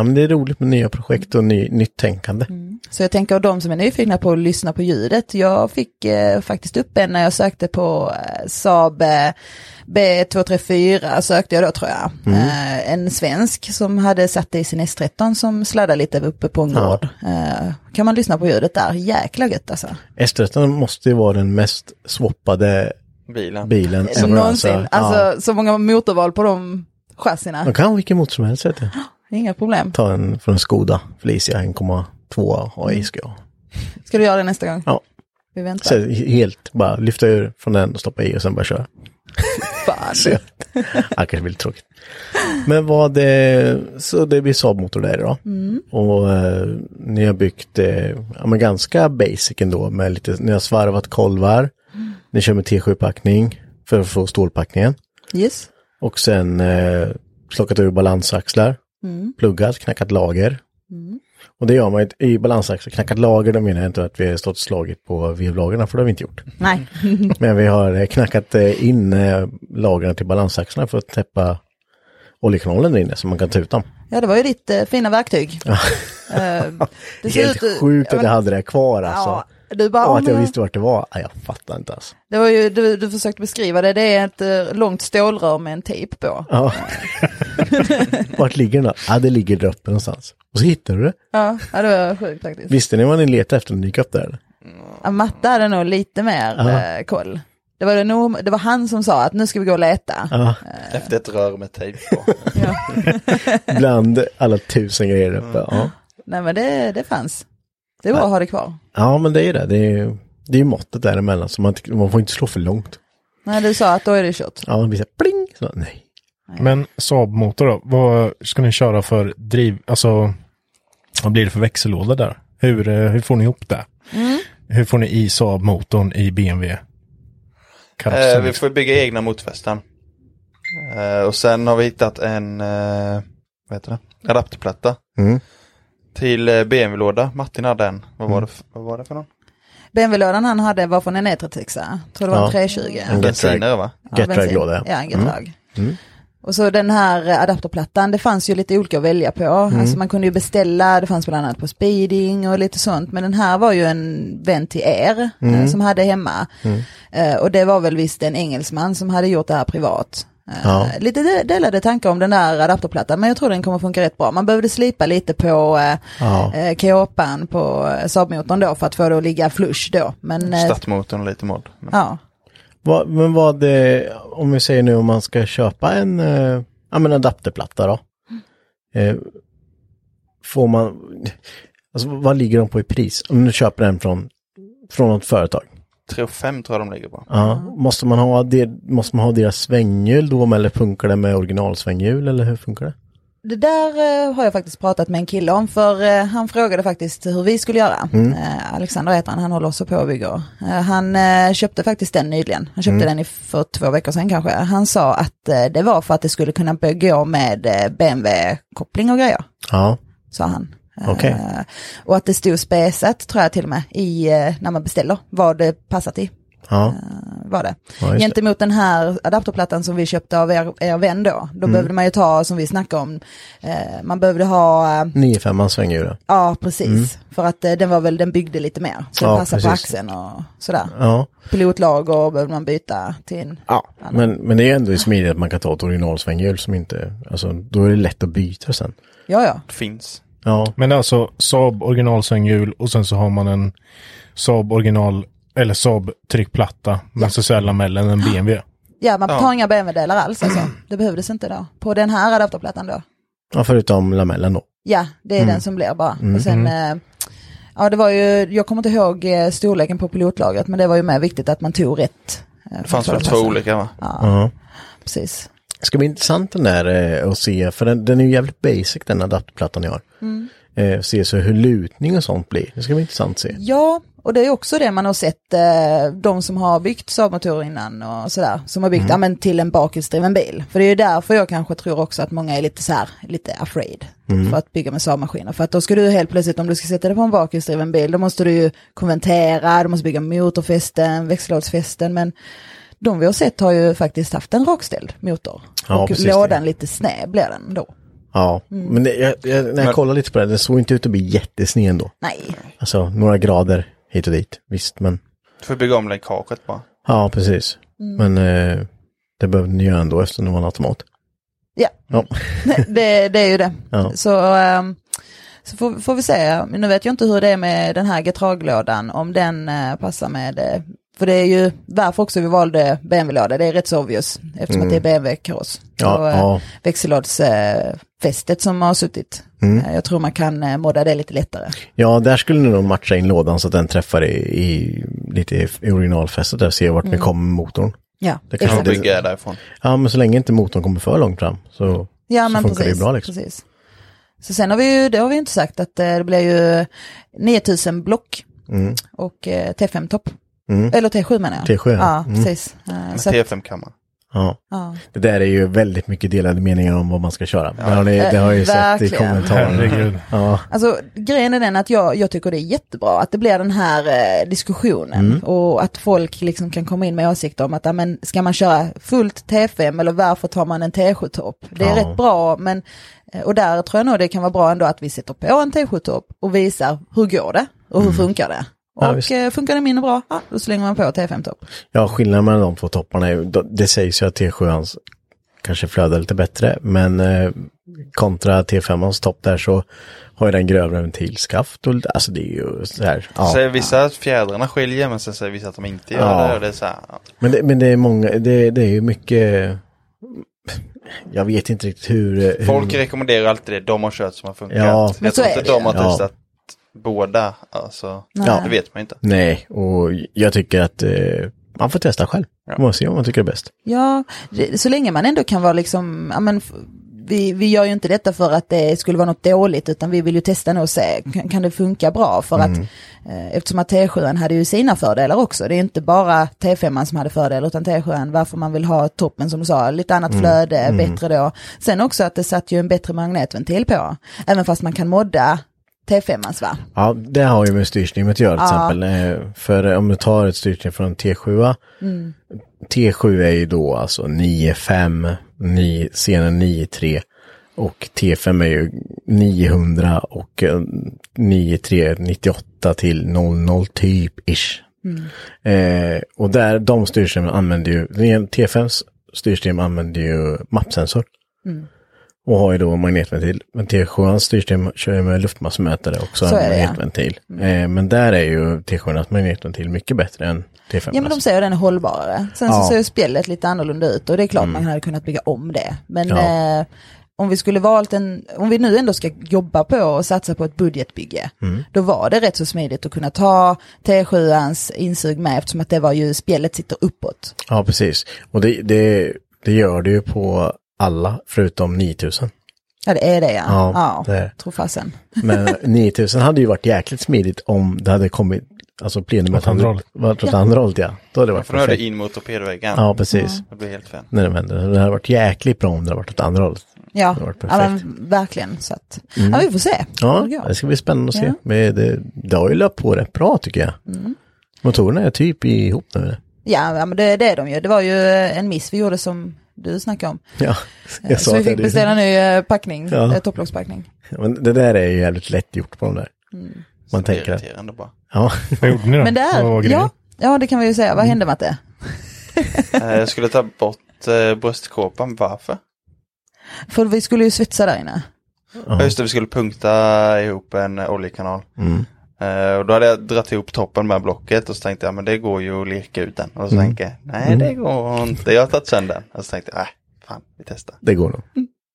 Speaker 2: Ja, men det är roligt med nya projekt och ny, nytt tänkande.
Speaker 5: Så jag tänker de som är nyfikna på att lyssna på ljudet, jag fick eh, faktiskt upp en när jag sökte på eh, Saab eh, B234, sökte jag då tror jag.
Speaker 2: Mm.
Speaker 5: Eh, en svensk som hade satt det i sin S13 som sladdade lite uppe på en
Speaker 2: Ja.
Speaker 5: gård. Eh, kan man lyssna på ljudet där, jäkla gött alltså.
Speaker 2: S13 måste ju vara den mest swappade
Speaker 6: Bilen.
Speaker 2: bilen
Speaker 5: Som
Speaker 2: ever,
Speaker 5: någonsin, alltså
Speaker 2: ja.
Speaker 5: så många motorval på de chassina,
Speaker 2: De kan ha vilken motor som helst vet du.
Speaker 5: inga problem.
Speaker 2: Ta en från Skoda, Felicia 1,2 AI ska jag.
Speaker 5: Ska du göra det nästa gång?
Speaker 2: Ja.
Speaker 5: Vi väntar.
Speaker 2: Så helt bara lyfta ur från den och stoppa i och sen bara köra.
Speaker 5: Fan.
Speaker 2: Så jag, ja, kanske blir lite tråkigt. Men vad det, så det blir Saab-motor där idag. Och eh, ni har byggt eh, ja, men ganska basic ändå med lite, ni har svarvat kolvar. Ni kör med T7-packning för att få stålpackningen.
Speaker 5: Yes.
Speaker 2: Och sen eh, plockat ur balansaxlar, pluggat, knackat lager. Och det gör man ju- i balansaxlar, knackat lager, då menar jag inte att vi har stått och slagit på vevlagerna, för det har vi inte gjort.
Speaker 5: Nej.
Speaker 2: Men vi har eh, knackat eh, in eh, lagren till balansaxlarna för att täppa oljekanalen där inne så man kan ta ut dem.
Speaker 5: Ja, det var ju ditt eh, fina verktyg. Eh, det ser
Speaker 2: Helt
Speaker 5: ut-
Speaker 2: sjukt
Speaker 5: ja,
Speaker 2: att jag
Speaker 5: men-
Speaker 2: hade det kvar alltså.
Speaker 5: Ja, du bara,
Speaker 2: och
Speaker 5: ja,
Speaker 2: att jag
Speaker 5: men-
Speaker 2: visste vart det var. Nej, jag fattar inte alltså.
Speaker 5: Det var ju, du, du försökte beskriva det, det är ett eh, långt stålrör med en tejp på.
Speaker 2: Ja. vart ligger den då? Ja, det ligger där uppe någonstans. Och så hittar du det.
Speaker 5: Ja, ja det var sjukt faktiskt.
Speaker 2: Visste ni vad ni letade efter när ni gick upp där? eller?
Speaker 5: Ja, Matte hade nog lite mer eh, koll. Det var, det, nog, det var han som sa att nu ska vi gå och leta.
Speaker 2: Ja,
Speaker 6: Efter ett rör med Eh, tejp på.
Speaker 2: bland alla tusen grejer där uppe. Ja.
Speaker 5: Nej men det, det fanns. Det är bra att ha det kvar.
Speaker 2: ja, men det är ju det. Det är ju det är ju måttet däremellan. Så man, inte- man får inte slå för långt.
Speaker 5: Nej du sa att då är det kört.
Speaker 2: Ja, man blir så här, pling! Så, nej.
Speaker 3: Men Saab-motor då, vad ska ni köra för driv, alltså vad blir det för växellåda där? Hur, eh, hur får ni ihop det? Hur får ni i Saab-motorn i BMW?
Speaker 6: Eh,
Speaker 3: Karossen,
Speaker 6: vi
Speaker 3: liksom.
Speaker 6: får bygga egna motfästen. Eh, och sen har vi hittat en eh, vad heter det? adapterplatta.
Speaker 2: Mm.
Speaker 6: Till eh, BMW-låda. Martin hade en. Vad
Speaker 2: Mm.
Speaker 6: var, det för, vad var det för någon?
Speaker 5: BMW-lådan han hade var från en E36, tror det var en
Speaker 2: Ja.
Speaker 5: 320.
Speaker 2: En
Speaker 6: Bensinare va?
Speaker 5: Ja,
Speaker 2: Get
Speaker 5: bensin.
Speaker 2: Drag-låda,
Speaker 5: Ja, en get drag.
Speaker 2: Mm.
Speaker 5: Och så den här eh, adapterplattan, det fanns ju lite olika att välja på.
Speaker 2: Mm.
Speaker 5: Alltså man kunde ju beställa, det fanns bland annat på speeding och lite sånt. Men den här var ju en vän till er eh,
Speaker 2: Mm.
Speaker 5: som hade hemma. Eh, och det var väl visst en engelsman som hade gjort det här privat. Eh,
Speaker 2: Ja.
Speaker 5: Lite de- delade tankar om den där adapterplattan, men jag tror den kommer funka rätt bra. Man behövde slipa lite på eh,
Speaker 2: Ja.
Speaker 5: eh, kåpan på eh, Saab-motorn då för att få det att ligga flush då. Men
Speaker 2: Äh,
Speaker 5: eh,
Speaker 6: Startmotorn och lite mod. Men
Speaker 5: ja,
Speaker 2: Vad- men vad det, om vi säger nu om man ska köpa en, eh, ja men adapterplatta då. Eh, får man, alltså vad ligger de på i pris? Om du köper en från, från något företag.
Speaker 6: 3 och 5 tror jag de ligger på.
Speaker 2: Ja, måste, man ha det, måste man ha deras svänghjul då eller funkar det med originalsvänghjul eller hur funkar det?
Speaker 5: Det där eh, har jag faktiskt pratat med en kille om för eh, han frågade faktiskt hur vi skulle göra. Eh, Alexander heter han, han håller också på och bygger. Eh, han eh, köpte faktiskt den nyligen, han köpte den i, för två veckor sedan kanske. Han sa att eh, det var för att det skulle kunna börja gå med eh, BMW-koppling och grejer,
Speaker 2: Ja,
Speaker 5: sa han. Eh,
Speaker 2: Okej.
Speaker 5: och att det stod spesat tror jag till och med i, eh, när man beställer vad det passar till.
Speaker 2: ja,
Speaker 5: var det.
Speaker 2: Ja, just det.
Speaker 5: Gentemot den här adapterplattan som vi köpte av er, er vän då,
Speaker 2: Mm.
Speaker 5: då behövde man ju ta, som vi snackade om, eh, man behövde ha, eh,
Speaker 2: 9-5 svänger ju det.
Speaker 5: ja precis, för att eh, den var väl, den byggde lite mer, så
Speaker 2: Mm. Ja,
Speaker 5: den passade på
Speaker 2: precis.
Speaker 5: axeln och sådär.
Speaker 2: Ja.
Speaker 5: Pilotlager behövde man byta till en,
Speaker 2: Ja, men, men det är ändå smidigt att man kan ta ett originalsvänghjul som inte, alltså då är det lätt att byta sen.
Speaker 5: ja ja,
Speaker 6: Finns.
Speaker 2: Ja,
Speaker 3: Men det är alltså Saab originalsvänghjul och sen så har man en Saab original eller Saab tryckplatta men så är lamellen en BMW.
Speaker 5: ja man
Speaker 6: Ja.
Speaker 5: tar inga BMW-delar alls alltså, det behövdes inte då, på den här adapterplattan då.
Speaker 2: ja förutom lamellen då.
Speaker 5: Ja, det
Speaker 2: Mm.
Speaker 5: är den som blir bara. Och sen, eh, ja det var ju, jag kommer inte ihåg eh, storleken på pilotlagret men det var ju med viktigt att man tog rätt. eh,
Speaker 6: Det fanns väl två
Speaker 5: kontrollpassar.
Speaker 6: olika va?
Speaker 2: Ja.
Speaker 5: Precis.
Speaker 2: Det ska bli intressant den där eh, att se, för den, den är ju jävligt basic den adapterplattan jag har.
Speaker 5: Mm.
Speaker 2: Eh, se så hur lutning och sånt blir, det ska bli intressant att se.
Speaker 5: Ja, och det är också det man har sett eh, de som har byggt Saab-motorer innan och sådär, som har byggt
Speaker 2: Mm.
Speaker 5: ja, men till en bakhjulsdriven bil. För det är ju därför jag kanske tror också att många är lite så här, lite afraid
Speaker 2: Mm.
Speaker 5: för att bygga med Saab-maskiner. För att då ska du helt plötsligt, om du ska sätta dig på en bakhjulsdriven bil, då måste du ju konvertera, du måste bygga motorfästen, växellådsfästen, men de vi har sett har ju faktiskt haft en rakställd motor.
Speaker 2: Ja,
Speaker 5: och
Speaker 2: precis
Speaker 5: lådan
Speaker 2: det.
Speaker 5: lite sned blir den då.
Speaker 2: Ja,
Speaker 5: Mm.
Speaker 2: men det, jag, jag, när jag
Speaker 6: Men-
Speaker 2: kollar lite på det, den såg inte ut att bli jättesned ändå.
Speaker 5: Nej,
Speaker 2: Alltså några grader hit och dit, visst men.
Speaker 6: Du får bygga om läckaget bara.
Speaker 2: Ja, precis.
Speaker 5: Mm.
Speaker 2: Men eh, det behövde ni göra ändå eftersom det var en automat.
Speaker 5: Ja.
Speaker 2: Ja,
Speaker 5: det, det är ju det.
Speaker 2: Ja.
Speaker 5: Så, ehm, så får, får vi se. Men Nu vet jag inte hur det är med den här getraglådan, om den eh, passar med... eh, För det är ju varför också vi valde BMW-låda, det är rätt så obvious, eftersom att det är BMW-kaross. Så,
Speaker 2: Mm. ja,
Speaker 5: eh,
Speaker 2: ja.
Speaker 5: Växellådsfästet som har suttit.
Speaker 2: Mm.
Speaker 5: Eh, Jag tror man kan eh, modda det lite lättare.
Speaker 2: Ja, där skulle ni nog matcha in lådan så att den träffar i, i lite i originalfästet där och ser vart
Speaker 5: Mm.
Speaker 2: ni kommer med motorn.
Speaker 5: Ja,
Speaker 2: Det
Speaker 6: Du
Speaker 2: kanske
Speaker 6: får
Speaker 5: exakt.
Speaker 2: det-
Speaker 6: bygga därifrån.
Speaker 2: Ja, men så länge inte motorn kommer för långt fram så,
Speaker 5: Ja,
Speaker 2: så
Speaker 5: men
Speaker 2: funkar
Speaker 5: precis,
Speaker 2: det ju bra liksom.
Speaker 5: precis. Så sen har vi ju, det har vi ju inte sagt, att eh, det blir ju 9000 block och eh, T5-topp.
Speaker 2: Mm.
Speaker 5: Eller T7 menar jag.
Speaker 2: T7, ja.
Speaker 5: ja.
Speaker 2: Mm.
Speaker 5: precis. Eh,
Speaker 6: Med
Speaker 5: Så, att-
Speaker 6: T5-kammaren.
Speaker 2: Ja.
Speaker 5: ja.
Speaker 2: Det där är ju väldigt mycket delade meningar om vad man ska köra. Det har, ni, det har jag ju
Speaker 5: Eh,
Speaker 2: sett i
Speaker 5: verkligen.
Speaker 2: kommentarerna.
Speaker 3: Herregud.
Speaker 2: Ja,
Speaker 5: Alltså grejen är den att jag, jag tycker det är jättebra att det blir den här eh, diskussionen
Speaker 2: Mm.
Speaker 5: och att folk liksom kan komma in med åsikter om att ja, men, ska man köra fullt T5 eller varför tar man en T7-topp? Det
Speaker 2: Ja.
Speaker 5: är rätt bra men, eh, och där tror jag nog det kan vara bra ändå att vi sätter på en T7-topp och visar hur går det och hur funkar det?
Speaker 2: Mm. Ja,
Speaker 5: Och
Speaker 2: visst.
Speaker 5: eh, funkar det mindre bra, ja, då slänger man på T5-topp.
Speaker 2: ja skillnaden mellan de två topparna är ju, det sägs ju att T7 kanske flödar lite bättre, men eh, kontra T5 topp där så har ju den grövre ventilskaft och lite- alltså det är ju så här. Ja.
Speaker 6: Säger vissa att fjädrarna skiljer men sen säger vissa att de inte gör
Speaker 2: Ja.
Speaker 6: det. Och det är så här, ja.
Speaker 2: Men det, men det är många, det, det är ju mycket, jag vet inte riktigt hur...
Speaker 6: Folk
Speaker 2: hur,
Speaker 6: rekommenderar alltid det de har kört som har funkat.
Speaker 2: Ja.
Speaker 5: Men
Speaker 6: Jag
Speaker 5: så
Speaker 6: tror
Speaker 5: är
Speaker 6: inte
Speaker 5: det
Speaker 6: de har
Speaker 2: ju. Ja.
Speaker 6: testat båda. Alltså,
Speaker 2: Ja.
Speaker 6: Det vet man inte.
Speaker 2: Nej, och jag tycker att eh, man får testa själv. Man får se om man tycker det är bäst.
Speaker 5: Ja, det, så länge man ändå kan vara liksom, ja men f- vi, vi gör ju inte detta för att det skulle vara något dåligt utan vi vill ju testa nu och se, kan, kan det funka bra? För att eh, eftersom att T7 hade ju sina fördelar också, det är inte bara T5 som hade fördelar utan T7 varför man vill ha toppen som du sa, lite annat flöde, bättre då. Sen också att det satt ju en bättre magnetventil på, även fast man kan modda T5 va?
Speaker 2: Ja, det har ju med styrsystemet att göra till exempel. Eh, För om du tar ett styrsystem från en T7, T7 är ju då alltså 9,5, 9, senare 9,3 och T5 är ju 900 och eh, 9,3, 98 till 00 typ ish.
Speaker 5: Mm.
Speaker 2: Eh, och där, de styrsystemen använder ju, T5s styrsystem använder ju mappsensor.
Speaker 5: Mm.
Speaker 2: Och har ju då en magnetventil. Men T7 styrsystem kör ju med luftmassmätare också.
Speaker 5: Så
Speaker 2: en
Speaker 5: är det, ja. Mm.
Speaker 2: magnetventil. Eh, men där är ju T7 magnetventil mycket bättre än T5.
Speaker 5: Ja men de säger att den är hållbarare.
Speaker 2: Alltså.
Speaker 5: Sen
Speaker 2: Ja. Mm.
Speaker 5: så ser ju spjället lite annorlunda ut och det är klart man hade kunnat bygga om det. Men
Speaker 2: Ja.
Speaker 5: eh, om vi skulle valt en, om vi nu ändå ska jobba på och satsa på ett budgetbygge,
Speaker 2: Mm.
Speaker 5: då var det rätt så smidigt att kunna ta T7ans insug med eftersom att det var ju spjället sitter uppåt.
Speaker 2: Ja, precis. Och det, det, det gör det ju på alla förutom 9000.
Speaker 5: Ja det är det ja.
Speaker 2: Ja,
Speaker 5: Ja,
Speaker 2: det är det.
Speaker 5: tror fasen.
Speaker 2: Men 9000 hade ju varit jäkligt smidigt om det hade kommit, alltså plenumet
Speaker 3: Åt andra
Speaker 2: hade
Speaker 3: hållet.
Speaker 2: varit åt andra hållet, ja. Då hade det varit
Speaker 6: För nu är det
Speaker 2: perfekt.
Speaker 6: in mot torpedväggen.
Speaker 2: Ja, precis.
Speaker 6: Det blir helt fel.
Speaker 2: När de vänder. Det hade varit jäkligt bra om det hade varit åt andra hållet.
Speaker 5: Ja,
Speaker 2: Det har varit
Speaker 5: ja
Speaker 2: perfekt. Mm.
Speaker 5: men, verkligen. Så att, ja vi får se. hur
Speaker 2: Ja,
Speaker 5: det går.
Speaker 2: det ska bli spännande att se.
Speaker 5: Ja.
Speaker 2: Men det, det har ju löpt på rätt bra tycker jag. Motorerna är typ ihop nu.
Speaker 5: Ja, ja men det, det är de ju. Det var ju eh, en miss vi gjorde som du snackade om.
Speaker 2: Ja,
Speaker 5: Eh,
Speaker 2: jag
Speaker 5: Så
Speaker 2: sa
Speaker 5: vi
Speaker 2: att jag
Speaker 5: fick
Speaker 2: hade-
Speaker 5: beställa en ny eh, packning,
Speaker 2: Ja.
Speaker 5: eh, topplockspackning.
Speaker 2: Ja, Men det där är ju jävligt lätt gjort på de där. Man tänker att,
Speaker 6: Irriterande bara.
Speaker 2: ja,
Speaker 3: Vad gjorde ni då?
Speaker 5: Men
Speaker 3: Vad var
Speaker 5: där,
Speaker 3: grejen?
Speaker 5: ja, ja det kan vi ju säga. Vad hände Matte?
Speaker 6: Eh, Jag skulle ta bort eh, bröstkåpan, varför?
Speaker 5: För vi skulle ju svetsa där inne.
Speaker 6: Ja. Just det, vi skulle punkta ihop en eh, oljekanal.
Speaker 2: mm.
Speaker 6: Eh, och då hade jag dratt ihop toppen med blocket och så tänkte jag, men det går ju att lirka ut den. Och så
Speaker 2: Mm.
Speaker 6: tänkte jag, nej det går inte. Jag har tagit sönder den. Och så tänkte jag, äh, fan, vi testar.
Speaker 2: det går nog.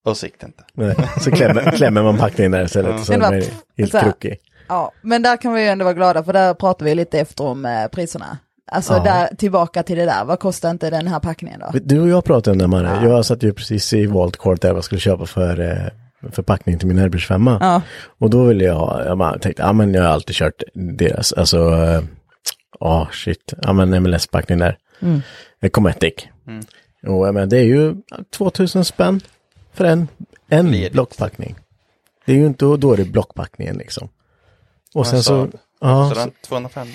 Speaker 6: Och så gick det inte.
Speaker 2: Nej. Så klämmer, klämmer man packningen där istället och så är
Speaker 5: Men det var-
Speaker 2: den helt
Speaker 5: så här.
Speaker 2: krokig.
Speaker 5: Ja, men där kan vi ju ändå vara glada för där pratar vi lite efter om eh, priserna. Alltså
Speaker 2: Ja.
Speaker 5: där, tillbaka till det där, vad kostar inte den här packningen då?
Speaker 2: Du och jag pratade om det Marre. Jag satt ju precis i wildcard där vad jag skulle köpa för eh, förpackning till min Airbrush 5.
Speaker 5: Ja.
Speaker 2: Och då ville jag, ha- jag bara tänkte, ja men jag har alltid kört deras, alltså, ja eh, ah, shit, ja men MLS-packning där. Mm. Cometic. Och jag menar, det är ju 2000 spänn för en, en
Speaker 6: Ledigt.
Speaker 2: blockpackning. Det är ju inte, och då är det blockpackningen liksom. Och sen så,
Speaker 6: Saab.
Speaker 2: ja,
Speaker 6: Så den 205,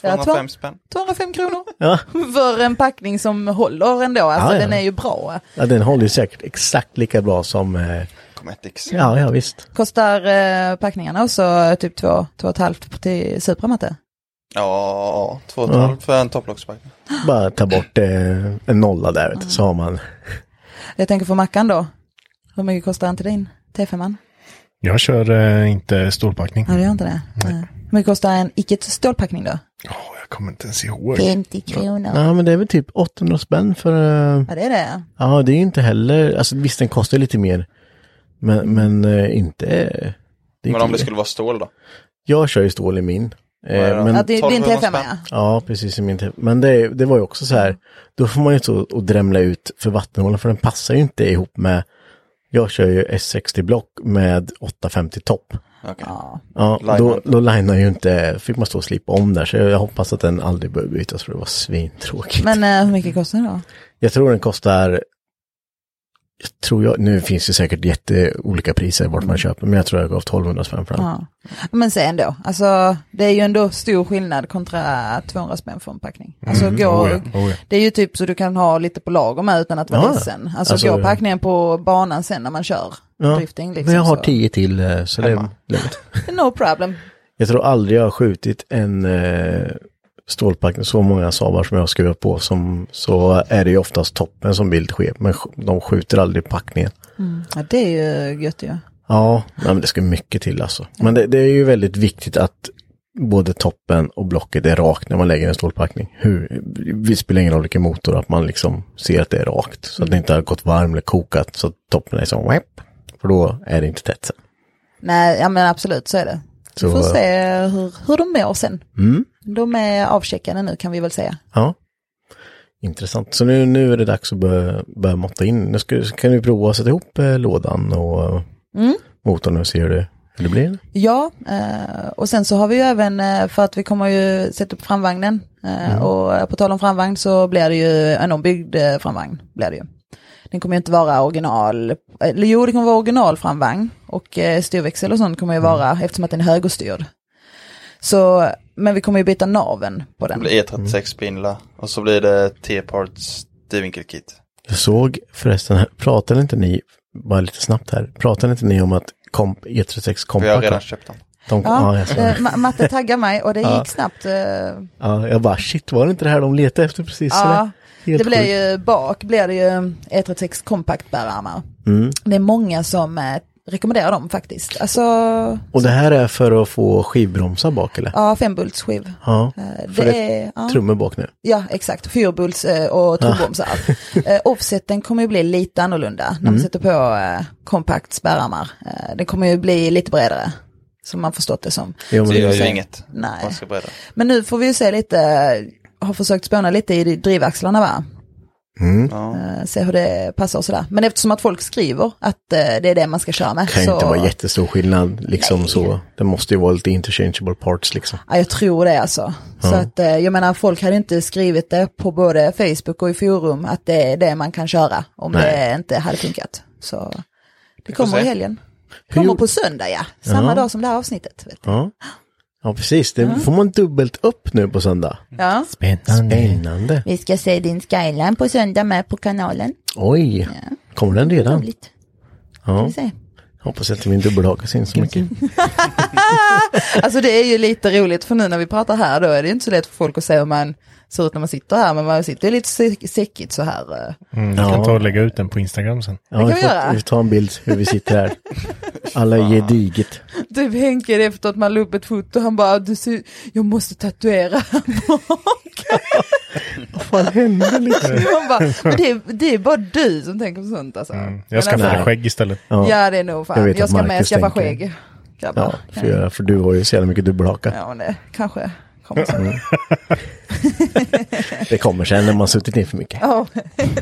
Speaker 5: Ja, två-
Speaker 6: 205 spänn.
Speaker 5: 205 kronor
Speaker 2: Ja.
Speaker 5: för en packning som håller ändå, alltså
Speaker 2: Ja, ja.
Speaker 5: den är ju bra.
Speaker 2: ja, den håller ju säkert exakt lika bra som, eh,
Speaker 6: Cometics.
Speaker 2: ja, ja visst.
Speaker 5: Kostar eh, packningarna också eh, typ 2-2,5 till Supra Matte?
Speaker 6: Ja, 2,5 för en topplockspackning.
Speaker 2: Bara ta bort eh, en nolla där, vet, du, så har man
Speaker 5: Jag tänker för Mackan då, hur mycket kostar inte din T5? -an?
Speaker 3: Jag kör eh, inte storpackning.
Speaker 5: Ja, det gör inte det. Nej. Hur mycket kostar en icke-stålpackning då?
Speaker 3: Åh, jag kommer inte ens ihåg. Mm.
Speaker 5: 50 kronor.
Speaker 2: Ja, men det är väl typ 800 spänn för... eh,
Speaker 5: Ja, det är det.
Speaker 2: Ja, det är ju inte heller... Alltså visst, den kostar lite mer. Men, men eh, inte... eh, Det är
Speaker 6: Men
Speaker 2: inte
Speaker 6: om det skulle vara stål då?
Speaker 2: Jag kör ju stål i min. Eh,
Speaker 6: Ja, ja.
Speaker 2: men,
Speaker 5: Ja, det är din
Speaker 6: 1200
Speaker 5: T5 ja.
Speaker 6: spänn.
Speaker 2: Ja, precis i min typ. Men det, det var ju också så här, då får man ju stå och drämla ut för vattenhålan för den passar ju inte ihop med, jag kör ju S60-block med 850 topp.
Speaker 6: Okej.
Speaker 5: Ja.
Speaker 2: Ja,
Speaker 6: Linar
Speaker 2: då,
Speaker 6: inte.
Speaker 2: då linar ju inte, fick man stå och slipa om där, så jag, jag hoppas att den aldrig behöver bytas för det var svintråkigt.
Speaker 5: Men eh, hur mycket kostar det då?
Speaker 2: Jag tror den kostar, jag tror jag, nu finns det säkert jätteolika priser vart man köper, men jag tror jag gav 1200 spänn för den.
Speaker 5: Ja. Men se ändå, alltså det är ju ändå stor skillnad kontra 200 spänn för en packning. Alltså
Speaker 2: Mm.
Speaker 5: går,
Speaker 3: Oh, ja. Oh, ja.
Speaker 5: det är ju typ så du kan ha lite på lager med utan att vara
Speaker 2: Ja.
Speaker 5: ledsen. Alltså,
Speaker 2: Alltså-
Speaker 5: går packningen på banan sen när man kör
Speaker 2: Ja,
Speaker 5: drifting liksom.
Speaker 2: men jag har
Speaker 5: så-
Speaker 2: 10 till, eh, så det är
Speaker 6: Hemma.
Speaker 2: lugnt.
Speaker 5: No problem.
Speaker 2: Jag tror aldrig jag har skjutit en eh, stålpackning, så många savar som jag har skruvat på, som, så är det ju oftast toppen som bild sker, men sk- de skjuter aldrig packningen.
Speaker 5: Ja, det är ju gött ju.
Speaker 2: Ja, nej, men det ska mycket till alltså. Men det, det är ju väldigt viktigt att både toppen och blocket är rakt när man lägger en stålpackning. Hur, det spelar ingen roll vilken motor, att man liksom ser att det är rakt. Så att det inte har gått varm eller kokat, så att toppen är som whip. För då är det inte tätt sen.
Speaker 5: Nej, ja men absolut så är det.
Speaker 2: Så-
Speaker 5: Vi får se hur, hur de mår sen.
Speaker 2: Mm.
Speaker 5: De är avcheckade nu kan vi väl säga.
Speaker 2: Ja. Intressant. Så nu, nu är det dags att börja, börja måtta in. Nu ska, så kan vi prova att sätta ihop eh, lådan och eh, motorn och se hur det, hur det blir.
Speaker 5: Ja, eh, och sen så har vi ju även, eh, för att vi kommer ju sätta upp framvagnen. eh, Och eh, på tal om framvagn så blir det ju en ombyggd eh, framvagn. Blir det ju. Den kommer ju inte vara original, eller jo det kommer vara original framvagn. Och eh, styrväxel och sånt kommer ju vara, eftersom att den är högerstyrd. Så, men vi kommer ju byta naven på
Speaker 6: Det
Speaker 5: den.
Speaker 2: Mm.
Speaker 6: blir E36-spindlar och så blir det T-parts D-vinkelkit.
Speaker 2: Jag såg förresten, här- pratade inte ni, bara lite snabbt här, pratade inte ni om att komp, E E36
Speaker 6: Vi har redan
Speaker 2: Compact,
Speaker 6: köpt dem.
Speaker 2: de, ja,
Speaker 5: Ja,
Speaker 2: jag, såg
Speaker 5: eh,
Speaker 2: det.
Speaker 5: Ma- Matte taggar mig och det gick snabbt. eh,
Speaker 2: ja, jag bara shit, var det inte det här de letade efter precis?
Speaker 5: Ja,
Speaker 2: Helt
Speaker 5: det blir
Speaker 2: sjukt.
Speaker 5: ju bak, blir det ju E E36 kompakt bärarmar.
Speaker 2: Mm.
Speaker 5: Det är många som eh, rekommenderar dem faktiskt. Alltså,
Speaker 2: Och det här är för att få skivbromsar bak eller?
Speaker 5: ja, fembultsskiv.
Speaker 2: Ja,
Speaker 5: Eh,
Speaker 2: för
Speaker 5: Det
Speaker 2: det
Speaker 5: är, ja,
Speaker 2: trummor bak nu.
Speaker 5: ja, exakt, fyrbults eh, och trumbomsar. Eh, Offseten kommer ju bli lite annorlunda när
Speaker 2: Mm.
Speaker 5: man sätter på eh, kompakt spärrarmar. Eh, Den kommer ju bli lite bredare, som man förstått det som.
Speaker 2: Jo, men
Speaker 6: Det gör
Speaker 2: det,
Speaker 6: ju inget.
Speaker 5: Nej.
Speaker 6: Man ska bredda.
Speaker 5: Men nu får vi ju se lite, har försökt spåna lite i drivaxlarna va?
Speaker 2: Mm.
Speaker 6: Ja.
Speaker 5: Eh, se hur det passar och sådär. Men eftersom att folk skriver att eh, det är det man ska köra med.
Speaker 2: kan ju
Speaker 5: så,
Speaker 2: inte vara jättestor skillnad liksom så. Det måste ju vara lite interchangeable parts liksom.
Speaker 5: ja, jag tror det alltså. Så att eh, jag menar folk hade inte skrivit det på både Facebook och i forum att det är det man kan köra om
Speaker 2: Nej.
Speaker 5: det inte hade funkat. Så det
Speaker 6: får
Speaker 5: kommer i
Speaker 6: se.
Speaker 5: helgen.
Speaker 2: Hur
Speaker 5: Kommer
Speaker 2: gjorde-
Speaker 5: på söndag ja, samma
Speaker 2: Ja.
Speaker 5: dag som det här avsnittet. Vet du.
Speaker 2: Ja. Ja, precis. Det får man dubbelt upp nu på söndag.
Speaker 6: Mm.
Speaker 5: Ja.
Speaker 2: Spännande. Spännande.
Speaker 7: Vi ska se din skyline på söndag med på kanalen.
Speaker 2: Oj, kommer den redan?
Speaker 7: Roligt.
Speaker 2: Ja.
Speaker 7: Vi ser.
Speaker 2: Hoppas inte min dubbelhaka syns så mycket.
Speaker 5: Alltså det är ju lite roligt för nu när vi pratar här då är det ju inte så lätt för folk att se hur man ser ut när man sitter här men man sitter ju lite sä- säckigt så här. eh.
Speaker 3: Mm, jag kan ta och lägga ut den på Instagram sen.
Speaker 2: Ja,
Speaker 5: kan
Speaker 2: vi
Speaker 5: vi
Speaker 2: får
Speaker 5: göra.
Speaker 2: vi får ta en bild hur vi sitter här. Alla är gediget.
Speaker 5: Typ Henke efter att man la upp ett foto han bara du ser, jag måste tatuera här bak.
Speaker 2: Vad fan hände liksom?
Speaker 5: Man bara, men det, är, det är bara du som tänker på sånt alltså.
Speaker 3: Mm.
Speaker 5: Men
Speaker 3: Jag skaffade
Speaker 2: alltså-
Speaker 3: skägg istället.
Speaker 2: Ja,
Speaker 5: Ja det är nog fan,
Speaker 2: Jag vet
Speaker 5: jag,
Speaker 2: att
Speaker 5: ska med
Speaker 2: Marcus
Speaker 5: skaffa
Speaker 2: tänker.
Speaker 5: skägg.
Speaker 2: ja
Speaker 5: Grabbar.
Speaker 2: för, jag, för du har ju så jävla mycket dubbelhaka.
Speaker 5: Ja men det kanske kommer sen.
Speaker 2: Mm. Det kommer sen när man suttit ner för mycket.
Speaker 5: Ja.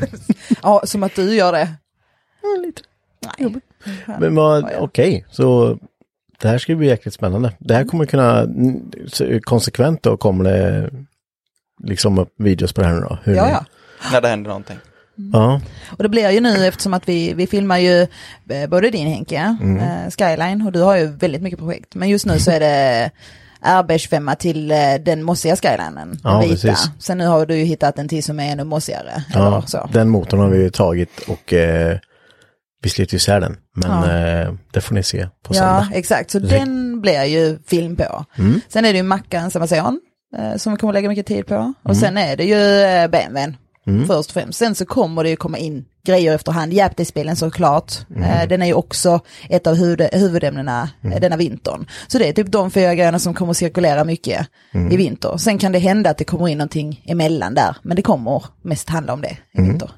Speaker 5: ja som att du gör det.
Speaker 2: Men vad, okej, så det här ska bli jäkligt spännande. Det här kommer kunna, n- så konsekvent då kommer det liksom upp videos på det här nu då? Hur
Speaker 5: Ja
Speaker 2: ni-
Speaker 5: ja.
Speaker 6: När det händer någonting.
Speaker 2: ja.
Speaker 5: Och det blir ju nu eftersom att vi, vi filmar ju eh, både din Henke,
Speaker 2: Mm.
Speaker 5: eh, Skyline, och du har ju väldigt mycket projekt. Men just nu så är det RB25 till eh, den mossiga skylinen,
Speaker 2: Ja,
Speaker 5: den vita.
Speaker 2: precis.
Speaker 5: Sen nu har du ju hittat en till som är ännu mossigare.
Speaker 2: Ja,
Speaker 5: eller så.
Speaker 2: den motorn har vi ju tagit och eh, vi slet ju isär den. Men
Speaker 5: Ja.
Speaker 2: eh, det får ni se på
Speaker 5: ja
Speaker 2: söndag. Mm.
Speaker 5: exakt. Så den blir ju film på. Sen är det ju Mackan Samasean eh, som vi kommer lägga mycket tid på.
Speaker 2: Mm.
Speaker 5: Och sen är det ju eh, BMWn. Först och främst. Sen så kommer det ju komma in grejer efterhand. Japti-spelen såklart.
Speaker 2: Mm.
Speaker 5: Eh, Den är ju också ett av huvud, huvudämnena eh, denna vintern. Så det är typ de fyra grejerna som kommer cirkulera mycket
Speaker 2: Mm.
Speaker 5: i vinter. Sen kan det hända att det kommer in någonting emellan där. Men det kommer mest handla om det
Speaker 2: Mm.
Speaker 5: i vinter.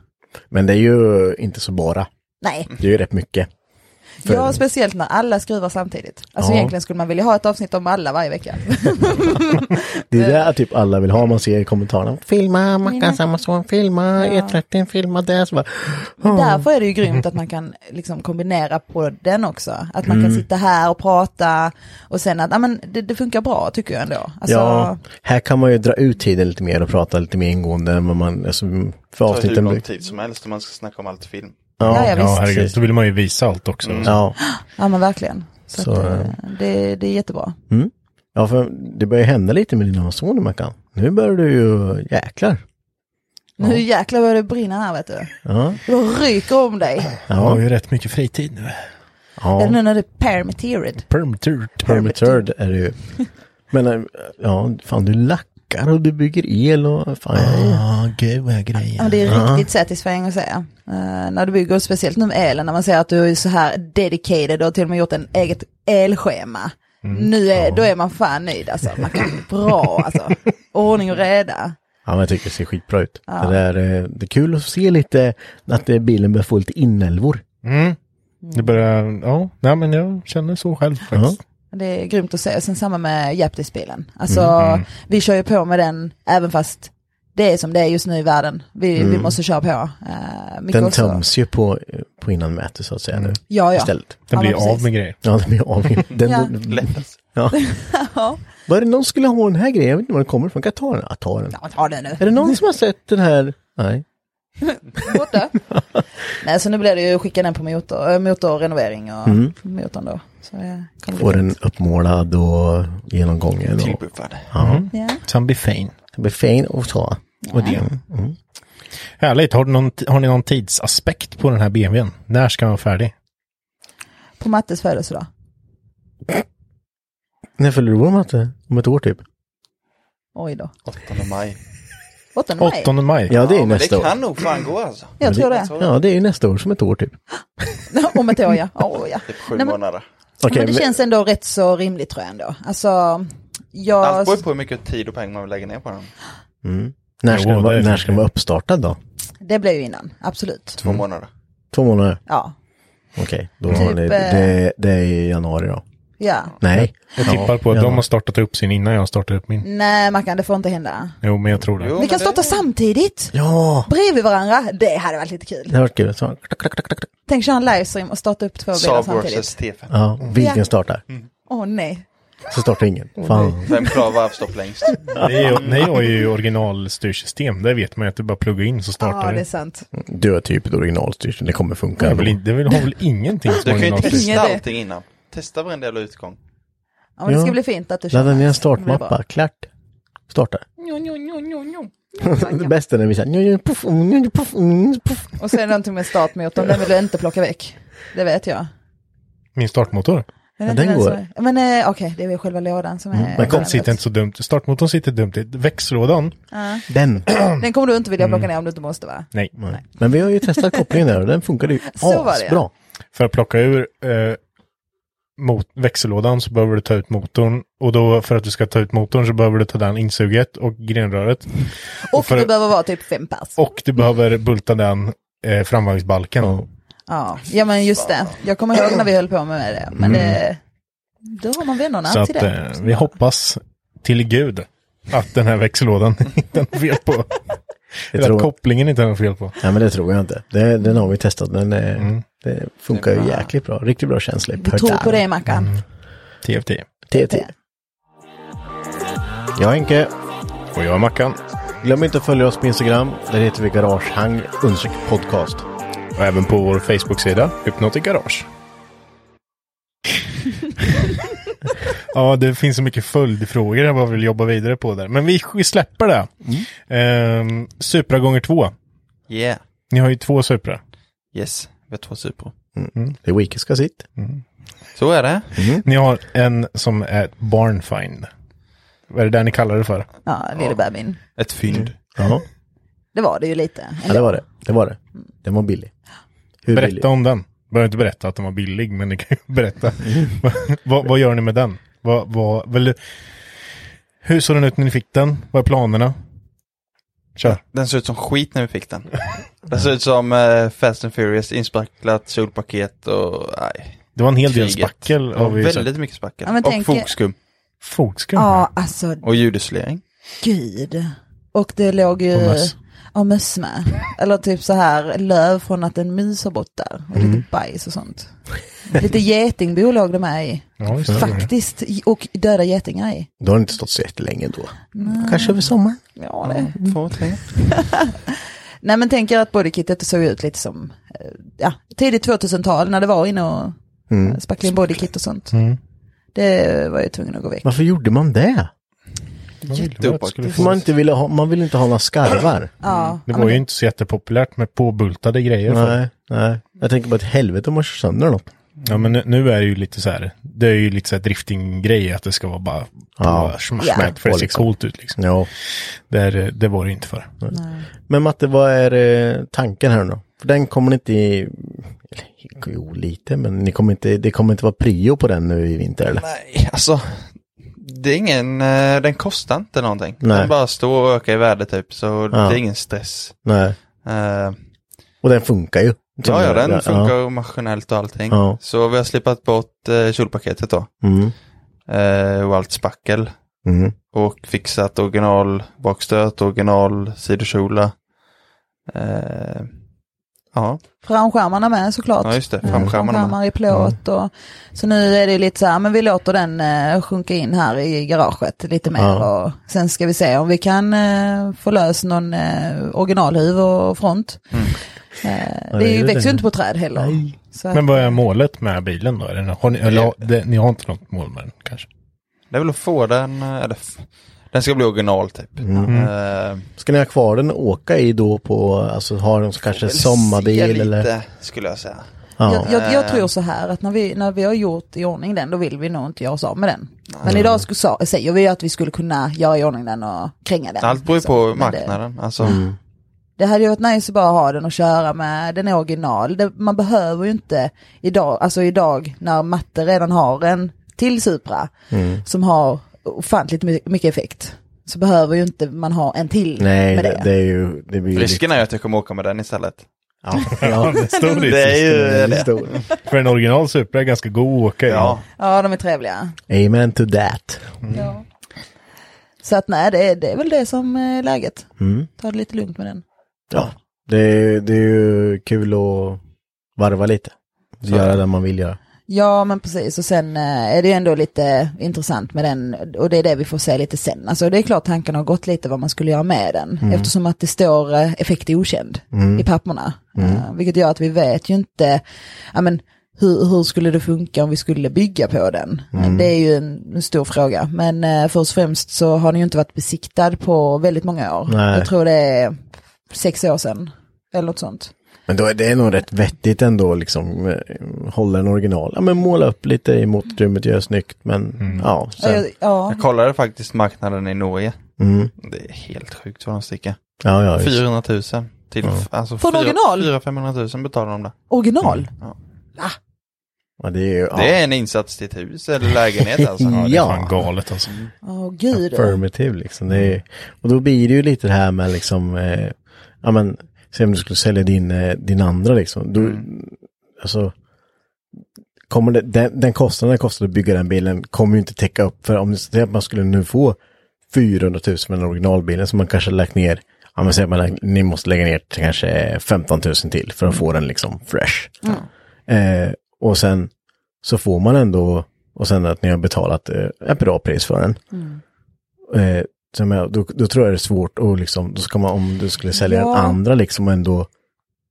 Speaker 2: Men det är ju inte så bara,
Speaker 5: Nej,
Speaker 2: det är ju rätt mycket. För-
Speaker 5: ja speciellt när alla skruvar samtidigt. Alltså
Speaker 2: Ja.
Speaker 5: egentligen skulle man vilja ha ett avsnitt om alla varje vecka.
Speaker 2: Det
Speaker 5: Eh.
Speaker 2: är där typ alla vill ha, man ser i kommentarerna.
Speaker 5: Mm.
Speaker 2: Filma Mackan Samuelsson, filma E30, filma det. Så bara,
Speaker 5: Därför är det ju grymt att man kan liksom kombinera på den också. Att man kan
Speaker 2: Mm.
Speaker 5: sitta här och prata och sen att, ja men det, det funkar bra tycker jag ändå. Alltså,
Speaker 2: Ja, här kan man ju dra ut tiden lite mer och prata lite mer ingående än vad man, alltså, för
Speaker 6: Det tar hur
Speaker 2: avsnitten
Speaker 6: lång
Speaker 2: blir.
Speaker 6: tid som helst om man ska snacka om allt film.
Speaker 5: Ja, ja,
Speaker 3: Ja,
Speaker 5: visst. Mm.
Speaker 3: herregud.
Speaker 2: precis.
Speaker 3: Då vill man ju visa allt också.
Speaker 2: Ja,
Speaker 5: ja men verkligen. Så,
Speaker 2: Så,
Speaker 5: att, eh, det, det är jättebra.
Speaker 2: ja, för det börjar hända lite med dina soner Mackan. Nu börjar du ju, jäklar.
Speaker 5: Nu jäklar vad det brinner här vet du.
Speaker 2: Ja,
Speaker 5: Det ryker om dig.
Speaker 3: Jag har
Speaker 2: ja.
Speaker 3: ju rätt mycket fritid nu.
Speaker 5: Är det
Speaker 2: ja.
Speaker 5: nu när det är permittered?
Speaker 3: Permturt.
Speaker 2: Permitörd är du ju. Men eh, ja, fan du lackar och du bygger el och fan jag är...
Speaker 3: Ja, gud vad jag grejer.
Speaker 5: Ja, men det är riktigt satisfying att säga. Eh, när du bygger, speciellt nu med elen, när man säger att du är så här dedicated och till och med gjort en eget elschema.
Speaker 2: Mm.
Speaker 5: nu är, då är man fan nöjd alltså. Man kan, bra alltså. Ordning och reda.
Speaker 2: Ja, men jag tycker det ser skitbra ut. Det, där, eh, det är kul att se lite att eh, bilen börjar få lite inälvor.
Speaker 3: Mm. Det börjar, ja, nej men jag känner så själv faktiskt.
Speaker 5: Det är grymt att se. Och Sen samma med Japtis-bilen. Alltså,
Speaker 2: Mm-hmm.
Speaker 5: vi kör ju på med den även fast det är som det är just nu i världen. Vi, vi måste köra på. Uh, mycket
Speaker 2: Mm. Den
Speaker 5: också. Mm.
Speaker 2: töms ju på, eh, på innan mätet så att säga nu.
Speaker 5: Ja, ja.
Speaker 2: Istället.
Speaker 3: Den
Speaker 5: Ja,
Speaker 3: blir
Speaker 5: men precis.
Speaker 3: av med grejer.
Speaker 2: Ja, den blir av. Den,
Speaker 5: Ja.
Speaker 6: Lättast.
Speaker 2: Ja.
Speaker 5: Ja.
Speaker 2: Var det någon som skulle ha den här grejen? Jag vet inte var den kommer ifrån. Kan jag ta den? Ja, ta den.
Speaker 5: Ja, ta det nu.
Speaker 2: Är det någon som har sett den här? Nej.
Speaker 5: borta. Nej, så nu blir det ju skicka den på motor, äh, motorrenovering och motorn då. Så det Typ.
Speaker 2: Mm.
Speaker 5: kommer
Speaker 2: Får
Speaker 5: bli
Speaker 2: den uppmålad och genomgången. Och,
Speaker 6: Tillbuffad.
Speaker 3: Mm.
Speaker 2: ja.
Speaker 5: Ja.
Speaker 3: Sen blir fin.
Speaker 2: Det blir fin att ta.
Speaker 3: Och det. Härligt, har, du någon, har ni någon tidsaspekt på den här BMWn? När ska den vara färdig?
Speaker 5: På Mattes födelsedag.
Speaker 2: När fyller du år Matte? Om ett år typ?
Speaker 5: Oj då.
Speaker 6: 8 maj.
Speaker 5: 8 maj.
Speaker 3: 8 maj.
Speaker 2: Ja, det är
Speaker 6: Ja, men det
Speaker 2: nästa år.
Speaker 6: kan nog fan gå alltså.
Speaker 5: Jag tror det.
Speaker 2: Ja, det är ju nästa år som ett år typ.
Speaker 5: Om ett år ja. Oh, ja.
Speaker 6: Typ sju
Speaker 5: Nej, men-
Speaker 6: månader.
Speaker 2: Okej,
Speaker 5: men det känns ändå rätt så rimligt tror jag ändå. Alltså, jag...
Speaker 6: Allt beror ju på hur mycket tid och pengar man vill lägga ner på den.
Speaker 2: När ska
Speaker 3: Jo,
Speaker 2: den vara,
Speaker 3: det är
Speaker 2: när
Speaker 3: fint.
Speaker 2: ska den vara uppstartad då?
Speaker 5: Det blev ju innan, absolut.
Speaker 6: Två månader.
Speaker 2: Två månader?
Speaker 5: Ja,
Speaker 2: Okej, då har ni,
Speaker 5: Typ, eh,
Speaker 2: det, det är i januari då?
Speaker 5: ja.
Speaker 2: Nej.
Speaker 3: Jag tippar på att
Speaker 2: Ja.
Speaker 3: de har startat upp sin innan jag startade upp min.
Speaker 5: Nej Mackan, det får inte hända.
Speaker 3: Jo, men jag tror det.
Speaker 6: Jo,
Speaker 5: Vi
Speaker 6: men
Speaker 5: kan
Speaker 6: det-
Speaker 5: starta samtidigt.
Speaker 2: Ja,
Speaker 5: Bredvid varandra. Det hade varit lite kul.
Speaker 2: det har varit kul. Så, klack, klack, klack, klack.
Speaker 5: Tänk köra en livestream och starta upp två bilar
Speaker 6: Saab
Speaker 5: samtidigt.
Speaker 6: vs T5.
Speaker 2: Ja, vilken
Speaker 5: Ja. Mm.
Speaker 2: startar?
Speaker 5: Åh nej.
Speaker 2: Så startar ingen. Fan.
Speaker 6: Vem klarar varvstopp längst?
Speaker 3: Det är, nej, jag har ju originalstyrsystem. Där vet man ju att det bara plugga in så startar
Speaker 5: Ja, det är
Speaker 3: det.
Speaker 5: sant.
Speaker 2: Du har typ ett originalstyrsystem, det kommer
Speaker 3: Det,
Speaker 2: funka.
Speaker 3: är väl, in- det är väl- har väl ingenting
Speaker 6: Du
Speaker 3: som
Speaker 6: kan ju
Speaker 3: originalstyrsystem.
Speaker 6: testa
Speaker 5: Ingen idé.
Speaker 6: allting innan. Testa varenda jävla utgång.
Speaker 5: Ja, men det ska bli fint att du
Speaker 2: Ladda
Speaker 5: känner.
Speaker 2: ner en
Speaker 5: Det blir
Speaker 2: startmappa,
Speaker 5: bra.
Speaker 2: klart. Starta.
Speaker 5: Njo, njo, njo, njo, njo.
Speaker 2: det bästa är när vi säger njo, njo, puff, mm, njo, njo, puff, mm, njo, puff.
Speaker 5: Och så är det någonting med startmotorn, den vill du inte plocka väck. Det vet jag.
Speaker 3: Min startmotor.
Speaker 5: Är det
Speaker 3: Ja,
Speaker 5: inte
Speaker 3: den går. Mm,
Speaker 5: som är- Men eh, okej, det är väl själva lådan som är...
Speaker 3: Men den sitter inte så dumt. Startmotorn sitter dumt i. Växellådan.
Speaker 5: Ja.
Speaker 2: Den.
Speaker 5: Den kommer du inte vilja
Speaker 3: Mm.
Speaker 5: plocka ner om du inte måste va?
Speaker 3: Nej.
Speaker 2: Men vi har ju testat kopplingen där och den funkade ju
Speaker 5: Så var det, ja.
Speaker 2: asbra.
Speaker 3: För att plocka ur eh, mot växellådan så behöver du ta ut motorn. Och då för att du ska ta ut motorn så behöver du ta den insuget och grenröret.
Speaker 5: Och
Speaker 3: för-
Speaker 5: du behöver vara typ fem pers.
Speaker 3: Och du behöver bulta den eh, framvagnsbalken.
Speaker 5: Ja. ja, men just det. Jag kommer ihåg när vi höll på med det. Men
Speaker 3: Mm.
Speaker 5: det, då har man vännerna
Speaker 3: Så att
Speaker 5: till det.
Speaker 3: eh, vi hoppas till gud att den här växellådan inte har fel på. Eller
Speaker 2: tror-
Speaker 3: att kopplingen inte har fel på. Mm.
Speaker 2: Ja men det tror jag inte. Det, den har vi testat. Den är, Mm. Det funkar ju jäkligt bra. Riktigt bra känsla. i
Speaker 5: Du tror
Speaker 2: pedal.
Speaker 5: på det Mackan.
Speaker 3: Mm. TFT.
Speaker 2: TT. Jag är Henke.
Speaker 3: Och jag är Mackan.
Speaker 2: Glöm inte att följa oss på Instagram. Där heter vi Garagehang understreck podcast.
Speaker 3: Och även på vår Facebook-sida, Hypnotic Garage. ja, det finns så mycket följdfrågor jag bara vill jobba vidare på där. Men vi, vi släpper det.
Speaker 2: Mm.
Speaker 3: Ehm, Supra gånger två.
Speaker 6: Yeah.
Speaker 3: Ni har ju två Supra.
Speaker 6: Yes, vi har två Supra.
Speaker 2: Det är Weekend ska sitt.
Speaker 6: Så är det.
Speaker 3: Ni har en som är ett barnfind. Vad är det där ni kallar det för?
Speaker 5: Ja, lille bebin.
Speaker 6: Ett fynd.
Speaker 2: Ja,
Speaker 5: Det var det ju lite.
Speaker 2: ja det var det. Det var det. Den var billig. Hur
Speaker 3: berätta
Speaker 2: billig?
Speaker 3: om den. Behöver inte berätta att den var billig, men ni kan ju berätta. vad, vad gör ni med den? Vad, vad, väl, hur såg den ut när ni fick den? Vad är planerna? Kör.
Speaker 6: Den såg ut som skit när vi fick den. Den såg ut som eh, Fast and Furious, inspacklat solpaket och nej.
Speaker 3: Det var en hel del
Speaker 6: kriget.
Speaker 3: spackel.
Speaker 6: Ja,
Speaker 3: har vi ju sett.
Speaker 6: väldigt mycket spackel.
Speaker 5: Ja, men
Speaker 6: och
Speaker 5: tänk-
Speaker 6: fotskum.
Speaker 3: Fotskum.
Speaker 5: Ja, alltså
Speaker 6: Och ljudisolering.
Speaker 5: gud. Och det låg ju...
Speaker 3: Och möss.
Speaker 5: Ja, möss med. Eller typ så här löv från att en mus har bott där. Och
Speaker 3: Mm.
Speaker 5: lite bajs och sånt. Lite getingbo låg det med i.
Speaker 3: Ja, just det.
Speaker 5: Faktiskt. Och döda getingar i.
Speaker 2: Då har den inte stått så jättelänge då. Mm. Kanske över sommaren.
Speaker 5: Ja, det.
Speaker 6: Mm. Två, tre.
Speaker 5: Nej men tänker att bodykittet såg ut lite som eh, ja, tidigt 2000-tal när det var inne och mm. spackla in bodykit och sånt.
Speaker 3: Mm.
Speaker 5: Det var jag tvungen att gå väck.
Speaker 2: Varför gjorde man det?
Speaker 6: Jätteoppaktigt.
Speaker 2: För man, inte ville ha, man ville inte ha några skarvar.
Speaker 5: Ja,
Speaker 3: Det
Speaker 5: ja,
Speaker 3: var
Speaker 5: men
Speaker 3: ju inte så jättepopulärt med påbultade grejer. förr.
Speaker 2: Nej, nej. Jag tänker bara ett helvete om man kör sönder något.
Speaker 3: Ja, men nu, nu är det ju lite så här. Det är ju lite så här driftinggrej att det ska vara bara
Speaker 2: Ja.
Speaker 3: ja. smack,
Speaker 5: Ja.
Speaker 3: smack, för det ser
Speaker 2: Liksom.
Speaker 3: coolt ut liksom.
Speaker 2: Ja.
Speaker 3: Där, det var det ju inte för.
Speaker 2: Men Matte, vad är eh, tanken här nu då? För den kommer inte i... eller, Jo, lite, men ni kommer inte, det kommer inte vara prio på den nu i vinter eller?
Speaker 6: Nej, alltså. Det är ingen, eh, den kostar inte någonting.
Speaker 2: Nej.
Speaker 6: Den bara står och ökar i värde typ, så
Speaker 2: Ja.
Speaker 6: det är ingen stress.
Speaker 2: Nej.
Speaker 6: Eh,
Speaker 2: Och den funkar ju.
Speaker 6: ja, ja, den funkar
Speaker 2: Ja.
Speaker 6: ja. maskinellt och allting.
Speaker 2: Ja.
Speaker 6: Så vi har slippat bort eh, kjolpaketet då.
Speaker 2: Mm.
Speaker 6: Eh, och allt spackel.
Speaker 2: Mm.
Speaker 6: Och fixat original bakstöt, original sidokjola. Eh, ja,
Speaker 5: Framskärmarna med såklart.
Speaker 6: ja, just det. Framskärmarna. med.
Speaker 5: Framskärmar i plåt och så nu är det lite så här, men vi låter den eh, sjunka in här i garaget lite mer
Speaker 2: Ja.
Speaker 5: och sen ska vi se om vi kan eh, få lös någon eh, originalhuv och front. Eh,
Speaker 2: Mm. Ja,
Speaker 5: det
Speaker 2: det är
Speaker 5: är ju,
Speaker 2: det.
Speaker 5: växer ju inte på träd heller. Så att-
Speaker 3: Men vad är målet med bilen då? Är det, nå- har ni, eller, har- det, ni har inte något mål med den kanske?
Speaker 6: Det är väl att få den, eh, eller f- den ska bli original typ.
Speaker 3: Mm.
Speaker 6: Eh,
Speaker 2: Mm. Ska ni ha kvar den och åka i då på, alltså har de kanske
Speaker 6: väl se
Speaker 2: sommarbil eller?
Speaker 6: lite, skulle jag säga.
Speaker 2: Ja.
Speaker 5: Jag, jag, jag tror så här att när vi, när vi har gjort i ordning den då vill vi nog inte göra oss av med den.
Speaker 2: Mm.
Speaker 5: Men idag sku, sa, säger vi ju att vi skulle kunna göra i ordning den och kränga den.
Speaker 6: Allt beror ju
Speaker 5: liksom.
Speaker 6: på
Speaker 5: Men det-
Speaker 6: marknaden. Alltså,
Speaker 2: Mm.
Speaker 5: Det hade ju varit nice att bara ha den och köra med, den är original. Det, man behöver ju inte idag, alltså idag när matte redan har en till Supra
Speaker 2: Mm.
Speaker 5: som har ofantligt my- mycket effekt. Så behöver ju inte man ha en till
Speaker 2: Nej,
Speaker 5: med det.
Speaker 2: det, det är ju... Det blir ju
Speaker 6: Risken är ju att jag kommer åka med den istället.
Speaker 2: Ja, ja.
Speaker 3: det är stor
Speaker 6: Det är ju
Speaker 2: det är
Speaker 6: det.
Speaker 2: stor.
Speaker 3: För en original Supra är ganska god att åka i.
Speaker 6: Ja,
Speaker 5: Ja, de är trevliga.
Speaker 2: Amen to that.
Speaker 5: Så att nej, det, är- det är väl det som är läget.
Speaker 2: Mm.
Speaker 5: Ta det lite lugnt med den.
Speaker 2: Ja, det är, det är ju kul att varva lite. Göra det man vill göra.
Speaker 5: Ja men precis och sen eh, är det ju ändå lite intressant med den och det är det vi får se lite sen. Alltså det är klart tanken har gått lite vad man skulle göra med den
Speaker 2: Mm.
Speaker 5: eftersom att det står
Speaker 2: Mm.
Speaker 5: eh, effekt är okänd i papperna. Eh, vilket gör att vi vet ju inte, ja men hur, hur skulle det funka om vi skulle bygga på den?
Speaker 8: Mm.
Speaker 5: Det är ju en, en stor fråga. Men eh, först och främst så har den ju inte varit besiktad på väldigt många år.
Speaker 2: Nej.
Speaker 5: Jag tror det är sex år sedan. Eller något sånt.
Speaker 2: Men då är det nog rätt vettigt ändå liksom. eh, Hålla en original. Ja men måla upp lite i motorutrymmet, göra snyggt. Men ja. Sen,
Speaker 5: Eh, ja.
Speaker 6: Jag kollade faktiskt marknaden i Norge.
Speaker 2: Mm.
Speaker 6: Det är helt sjukt vad de sticker.
Speaker 2: Ja, ja, just.
Speaker 6: 400 000 till, alltså
Speaker 5: För en original?
Speaker 6: 400-500 000 betalar de där.
Speaker 5: Original?
Speaker 2: ja, det är ju, ja.
Speaker 6: Det är en insats till ett hus eller lägenhet alltså.
Speaker 2: Ja, det är Ja. fan
Speaker 3: galet alltså.
Speaker 5: Åh gud.
Speaker 2: affirmative liksom. Det är, och då blir det ju lite det här med liksom, eh, ja men, säg om du skulle sälja din, eh, din andra liksom. Då, Alltså, kommer det, den, den kostnaden det kostar att bygga den bilen kommer ju inte täcka upp för om det- säg att man skulle nu få 400 000 med den originalbilen som man kanske lagt ner, ja men säg att man lagt, ni måste lägga ner till kanske 15 000 till för att få den liksom fresh. Eh, och sen så får man ändå, och sen att ni har betalat eh, ett bra pris för den. Eh, så men, då, då tror jag det är svårt och liksom, då ska man, om du skulle sälja
Speaker 5: Ja.
Speaker 2: den andra liksom ändå,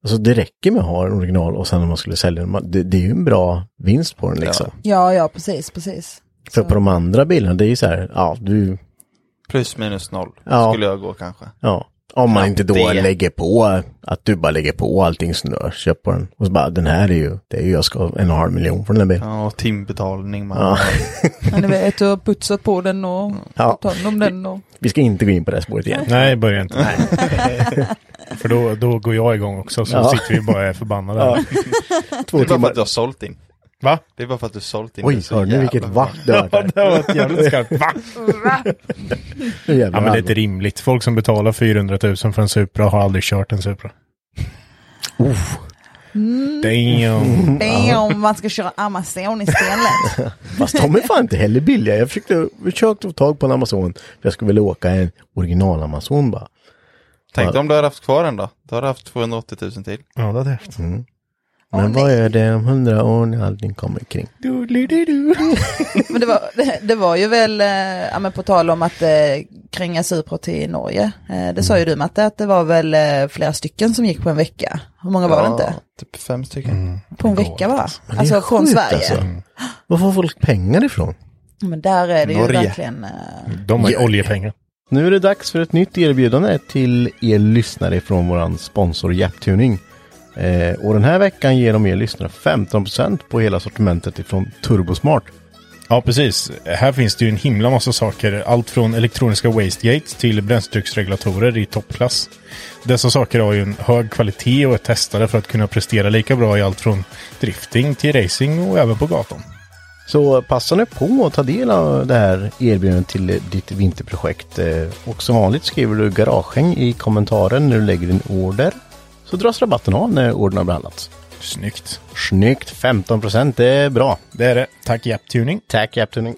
Speaker 2: alltså det räcker med att ha en original och sen om man skulle sälja den, man- det, det är ju en bra vinst på den liksom.
Speaker 5: Ja, ja, precis, precis.
Speaker 2: För på de andra bilarna, det är ju så här, ja du,
Speaker 6: Plus minus noll
Speaker 2: Ja.
Speaker 6: skulle jag gå kanske.
Speaker 2: ja. Om man
Speaker 6: Ja,
Speaker 2: inte då
Speaker 6: det-
Speaker 2: lägger på, att du bara lägger på allting som du har köpt på den. Och så bara, den här är ju, det är ju, jag ska ha en och en halv miljon för den här bilen.
Speaker 6: Ja, och timbetalning man.
Speaker 2: Ja.
Speaker 5: Men ni vet, du har putsat på den och
Speaker 2: Ja.
Speaker 5: tagit hand om den och...
Speaker 2: Vi ska inte gå in på det här spåret igen.
Speaker 3: Nej, börja inte. För då, då går jag igång också så
Speaker 2: Ja.
Speaker 3: sitter vi bara och är förbannade.
Speaker 2: Ja.
Speaker 6: det är bara för att du har sålt in.
Speaker 3: Va?
Speaker 6: Det är bara för att du har sålt in.
Speaker 2: Oj,
Speaker 6: det så
Speaker 2: hörde ni
Speaker 6: jävla
Speaker 2: vilket
Speaker 6: bra.
Speaker 2: va? Det var
Speaker 3: Ja, det var ett jävligt skarpt va? Ja, men det är inte rimligt. Folk som betalar 400 000 för en Supra har aldrig kört en Supra. Damn.
Speaker 5: Det är om man ska köra Amazon istället.
Speaker 2: Fast de är fan inte heller billiga. Jag försökte, försökte få tag på en Amazon. För jag skulle vilja åka en original Amazon bara.
Speaker 6: Tänk dig om du hade haft kvar den då. Då hade du haft 280 000 till.
Speaker 3: Ja, det hade jag haft.
Speaker 2: Mm. Men vad är det om hundra år när allting kommer kring?
Speaker 5: Men det var, det, det var ju väl, eh, ja, men på tal om att eh, kränga Supra till Norge. Eh, det sa ju du Matte, att det var väl eh, flera stycken som gick på en vecka. Hur många var det
Speaker 6: Ja,
Speaker 5: inte?
Speaker 6: Typ fem stycken.
Speaker 3: Mm.
Speaker 5: På en vecka va?
Speaker 2: Men det är
Speaker 5: Alltså från
Speaker 2: sjukt,
Speaker 5: Sverige.
Speaker 2: alltså. Var får folk pengar ifrån?
Speaker 5: Men där är det ju
Speaker 2: Norge.
Speaker 5: verkligen... eh,
Speaker 3: De har ju
Speaker 2: Ja.
Speaker 3: oljepengar.
Speaker 2: Nu är det dags för ett nytt erbjudande till er lyssnare från våran sponsor Japtuning. Eh, och den här veckan ger de er lyssnare 15% på hela sortimentet ifrån Turbosmart.
Speaker 3: Ja, precis. Här finns det ju en himla massa saker. Allt från elektroniska wastegates till bränsletrycksregulatorer i toppklass. Dessa saker har ju en hög kvalitet och är testade för att kunna prestera lika bra i allt från drifting till racing och även på gatan.
Speaker 2: Så passa nu på att ta del av det här erbjudandet till ditt vinterprojekt. Eh, Och som vanligt skriver du garagehäng i kommentaren när du lägger din order. Så dras rabatten av när ordern har behandlats.
Speaker 3: Snyggt.
Speaker 2: Snyggt! 15 procent, det är bra.
Speaker 3: Det är det. Tack Japtuning.
Speaker 2: Tack Japtuning.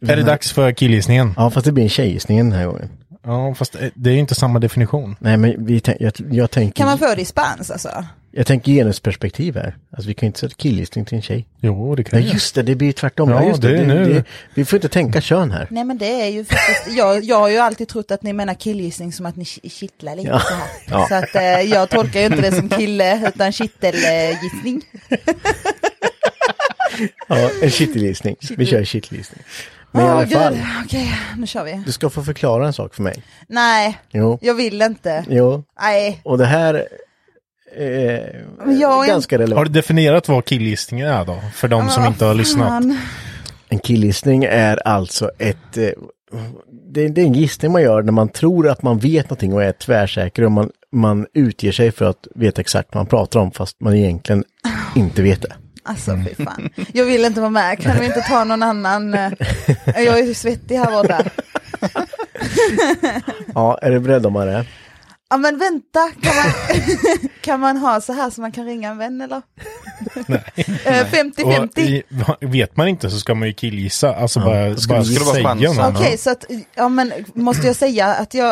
Speaker 3: Är det dags för killgissningen?
Speaker 2: Ja, fast det blir en tjejgissning den här gången.
Speaker 3: Ja, fast eh, det är ju inte samma definition.
Speaker 2: Nej, men vi tänk, jag, jag, tänker,
Speaker 5: Kan man få dispens alltså?
Speaker 2: jag tänker genusperspektiv här. Alltså, vi kan ju inte sätta killgissning till en tjej.
Speaker 3: Jo, det kan
Speaker 2: Nej,
Speaker 3: jag.
Speaker 2: just det, det blir tvärtom.
Speaker 3: Ja,
Speaker 2: just
Speaker 3: det är nu.
Speaker 2: vi får inte tänka kön här.
Speaker 5: Nej men det är ju faktiskt, jag, jag har ju alltid trott att ni menar killgissning som att ni ki- kittlar lite
Speaker 2: Ja.
Speaker 5: så här.
Speaker 2: Ja.
Speaker 5: Så att eh, jag tolkar ju inte det som kille utan kittelgissning.
Speaker 2: Ja, en kittelgissning. Vi kör kittelgissning. Men i alla fall,
Speaker 5: Okej, nu kör vi.
Speaker 2: du ska få förklara en sak för mig.
Speaker 5: Nej,
Speaker 2: Jo.
Speaker 5: jag vill inte.
Speaker 2: Jo,
Speaker 5: Nej,
Speaker 2: och det här är
Speaker 5: Men jag är-
Speaker 2: ganska
Speaker 3: Har
Speaker 2: relevant.
Speaker 3: du definierat vad killgissningen är då? För de som inte har lyssnat.
Speaker 5: Ah, fan.
Speaker 2: En killgissning är alltså ett... eh, Det, det är en gissning man gör när man tror att man vet någonting och är tvärsäker och man, man utger sig för att veta exakt vad man pratar om fast man egentligen inte vet det.
Speaker 5: Alltså fy fan. Jag vill inte vara med, kan vi inte ta någon annan? eh, Jag är ju svettig här borta.
Speaker 2: Ja, är du beredd om det?
Speaker 5: Ja men vänta, kan man, kan man ha så här så man kan ringa en vän eller? Eh, 50-50.
Speaker 3: Och i, vet man inte så ska man ju killgissa. Alltså bara,
Speaker 2: Skulle-
Speaker 3: bara
Speaker 2: skulle
Speaker 6: vara
Speaker 3: säga
Speaker 6: chansen.
Speaker 3: något.
Speaker 5: Okej, så att, ja men måste jag säga att jag...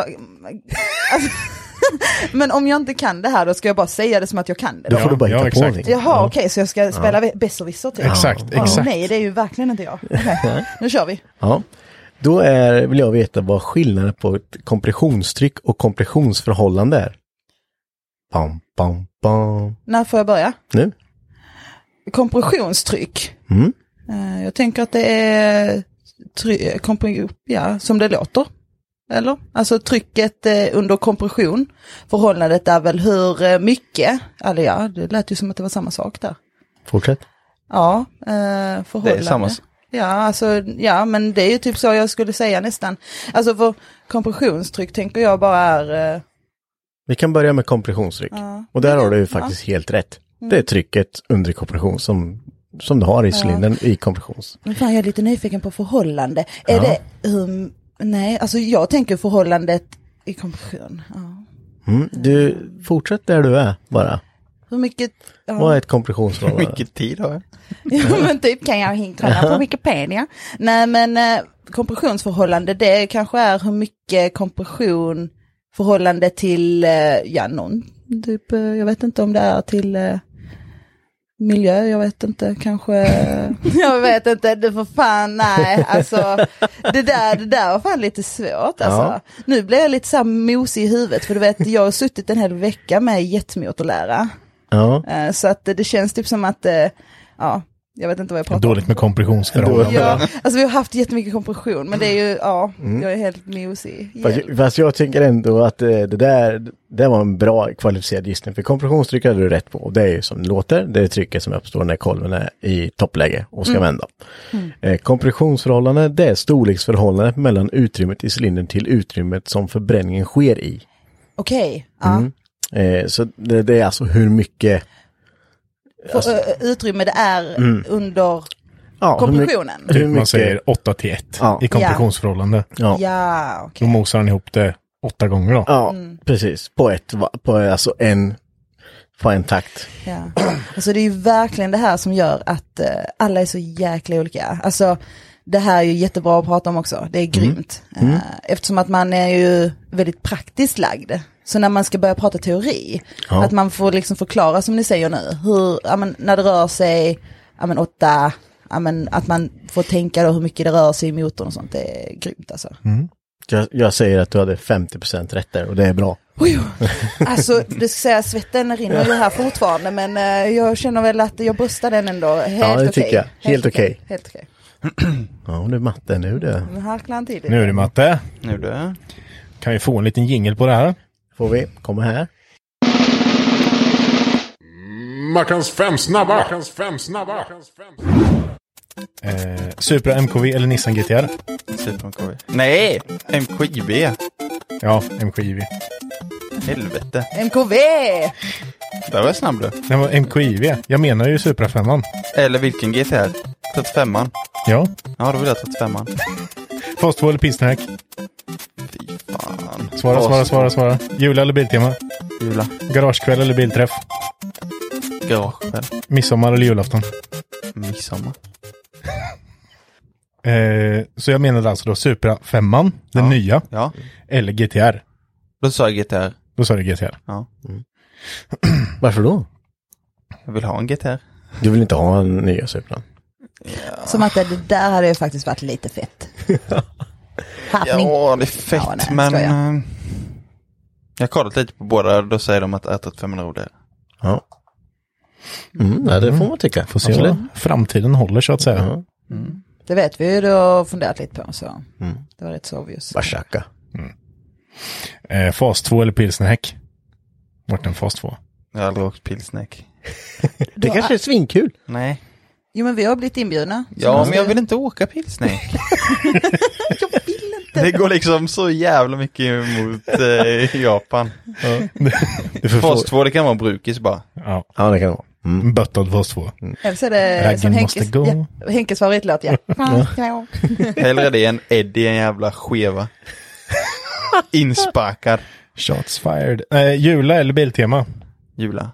Speaker 5: Alltså, men om jag inte kan det här då ska jag bara säga det som att jag kan det.
Speaker 2: Då
Speaker 5: Då.
Speaker 2: får du bara
Speaker 3: ja,
Speaker 2: hitta på
Speaker 3: exakt.
Speaker 2: någonting.
Speaker 5: Jaha, okej, så jag ska spela ja. besserwisser typ?
Speaker 3: Exakt,
Speaker 5: Åh,
Speaker 3: exakt.
Speaker 5: nej, det är ju verkligen inte jag. Okej, nu kör vi.
Speaker 2: Ja. Då är, vill jag veta vad skillnaden på ett kompressionstryck och kompressionsförhållande är. Pam, pam, pam.
Speaker 5: När får jag börja?
Speaker 2: Nu?
Speaker 5: kompressionstryck.
Speaker 2: Mm.
Speaker 5: Eh, Jag tänker att det är try- kompre- ja, som det låter. Eller? Alltså trycket eh, under kompression. Förhållandet är väl hur eh, mycket, eller ja, det lät ju som att det var samma sak där.
Speaker 2: Fortsätt.
Speaker 5: Ja, eh, förhållande.
Speaker 6: samma s-
Speaker 5: Ja, alltså, ja, men det är ju typ så jag skulle säga nästan. Alltså för kompressionstryck tänker jag bara är... Eh,
Speaker 2: Vi kan börja med kompressionstryck.
Speaker 5: Ja.
Speaker 2: Och där har du ju faktiskt helt rätt.
Speaker 5: Mm.
Speaker 2: Det är trycket under kompression som, som du har i
Speaker 5: Ja.
Speaker 2: cylindern i kompressions.
Speaker 5: men fan, jag är lite nyfiken på förhållande. Är
Speaker 2: Ja.
Speaker 5: det... Um, nej, alltså jag tänker förhållandet i kompression. Ja.
Speaker 2: Mm. Du, fortsätt där du är bara.
Speaker 5: Hur mycket... Ja.
Speaker 2: Vad är ett kompressionsförhållande?
Speaker 6: tid har jag?
Speaker 5: Ja men typ kan jag hin- kolla på Wikipedia. Nej men eh, kompressionsförhållande det kanske är hur mycket kompression förhållande till, eh, ja någon, typ, eh, jag vet inte om det är till eh, miljö, jag vet inte, kanske, jag vet inte, du för fan nej, alltså det där, det där var fan lite svårt alltså.
Speaker 2: Ja.
Speaker 5: Nu blir jag lite så här mosig i huvudet för du vet jag har suttit en hel vecka med jetmotorlära.
Speaker 2: Ja.
Speaker 5: Eh, Så att eh, det känns typ som att, eh, ja, jag vet inte vad jag pratar om.
Speaker 3: Dåligt med kompressionsförhållanden.
Speaker 5: Ja, alltså vi har haft jättemycket kompression, men det är ju, ja,
Speaker 2: Mm.
Speaker 5: jag är helt mosig.
Speaker 2: Fast,
Speaker 5: Hjälp.
Speaker 2: fast jag tänker ändå att eh, det där, det var en bra kvalificerad gissning. För kompressionstryck hade du rätt på. Och det är ju som det låter, det är trycket som uppstår när kolven är i toppläge och ska vända. Eh, kompressionsförhållande, det är storleksförhållandet mellan utrymmet i cylindern till utrymmet som förbränningen sker i.
Speaker 5: Okej, ja.
Speaker 2: Mm. Eh, så det, det är alltså hur mycket...
Speaker 5: För, eh, utrymme det är
Speaker 2: Mm.
Speaker 5: under
Speaker 2: Ja, hur mycket-
Speaker 5: kompressionen.
Speaker 2: hur
Speaker 3: Typ man
Speaker 2: mycket-
Speaker 3: säger 8 till 1
Speaker 2: Ja.
Speaker 3: i kompressionsförhållande.
Speaker 2: Ja, ja.
Speaker 5: Ja,
Speaker 3: Då
Speaker 5: okej.
Speaker 3: mosar han ihop det åtta gånger då.
Speaker 2: precis. På ett, va- på alltså en, på en takt.
Speaker 5: Ja. Alltså det är ju verkligen det här som gör att eh, alla är så jäkla olika. Alltså det här är ju jättebra att prata om också, det är grymt. Eh, eftersom att man är ju väldigt praktiskt lagd. Så när man ska börja prata teori,
Speaker 2: Ja.
Speaker 5: att man får liksom förklara som ni säger nu, hur, ja, men, när det rör sig, ja, men, åtta, ja, men, att man får tänka då hur mycket det rör sig i motorn och sånt, det är grymt alltså.
Speaker 2: Jag, jag säger att du hade 50 rätt där och det är bra.
Speaker 5: Oj, alltså du ska säga svetten rinner ju här fortfarande men eh, jag känner väl att jag bröstar den ändå. Helt
Speaker 2: Ja, det
Speaker 5: okej.
Speaker 2: tycker jag. Helt okej.
Speaker 5: Helt okej.
Speaker 2: Ja, nu matte, nu det.
Speaker 5: Nu harklar han till det.
Speaker 3: Nu är det matte.
Speaker 6: Nu du.
Speaker 3: Kan vi få en liten jingel på det här?
Speaker 2: Får vi komma här.
Speaker 8: Mackans fem snabba! Mackans fem snabba!
Speaker 3: Eh, Supra MKV eller Nissan GTR?
Speaker 6: Super MKV. Nej! MKJB.
Speaker 3: Ja, MKIV.
Speaker 6: Helvete.
Speaker 5: MKV!
Speaker 6: Där var jag snabb du.
Speaker 3: Nej, men MKIV. Jag menar ju Supra 5
Speaker 6: Eller vilken GTR? 35an.
Speaker 3: Ja.
Speaker 6: Ja, då vill jag 35an.
Speaker 3: Fast två eller Pilsnerhack?
Speaker 6: Fy fan.
Speaker 3: Svara, svara, svara, svara. Jula eller Biltema?
Speaker 6: Jula.
Speaker 3: Garagekväll eller bilträff?
Speaker 6: Garagekväll.
Speaker 3: Midsommar eller julafton?
Speaker 6: Midsommar.
Speaker 3: Eh, så jag menade alltså då Supra 5 den
Speaker 6: Ja.
Speaker 3: nya,
Speaker 6: Ja.
Speaker 3: eller GTR.
Speaker 6: Då sa jag GTR.
Speaker 3: Då sa du GTR.
Speaker 6: Ja.
Speaker 2: Varför då?
Speaker 6: Jag vill ha en GTR.
Speaker 2: Du vill inte ha en nya Supran?
Speaker 5: Som att det där hade ju faktiskt varit lite fett. Happening.
Speaker 6: Ja, det är fett,
Speaker 5: Ja, nej,
Speaker 6: men...
Speaker 5: skojar.
Speaker 6: eh, Jag har kollat lite på båda, då säger de att R35 är roligare.
Speaker 2: Ja. Mm, nej, det får man tycka.
Speaker 3: Får se
Speaker 2: Absolut.
Speaker 3: vad framtiden håller så att säga.
Speaker 2: Ja.
Speaker 5: Det vet vi ju, det har jag funderat lite på så.
Speaker 2: Mm.
Speaker 5: Det var rätt så obvious.
Speaker 2: Bashaka.
Speaker 3: Eh, fas 2 eller pilsnerhäck? Vart en fas 2?
Speaker 6: Jag har aldrig åkt pilsnäck.
Speaker 2: Det kanske är svinkul.
Speaker 6: Nej.
Speaker 5: Jo men vi har blivit inbjudna. Så
Speaker 6: Ja,
Speaker 5: måste
Speaker 6: men jag
Speaker 5: vi-
Speaker 6: vill inte åka pilsnäck.
Speaker 5: Jag vill inte.
Speaker 6: Det går liksom så jävla mycket emot eh, Japan.
Speaker 3: Du får
Speaker 6: Fas
Speaker 3: få-
Speaker 6: 2, det kan vara brukis bara.
Speaker 3: Ja,
Speaker 2: Ja, det kan det vara. Mm.
Speaker 3: en böttad fas 2.
Speaker 5: Eller så är det Eh, som
Speaker 3: Raggen måste
Speaker 5: Henkes,
Speaker 3: gå.
Speaker 5: ja, Henkes favoritlåt, ja. ja.
Speaker 6: Hellre det än Eddie, en jävla skeva. Insparkad.
Speaker 3: Shots fired. Eh, jula eller biltema?
Speaker 6: Jula.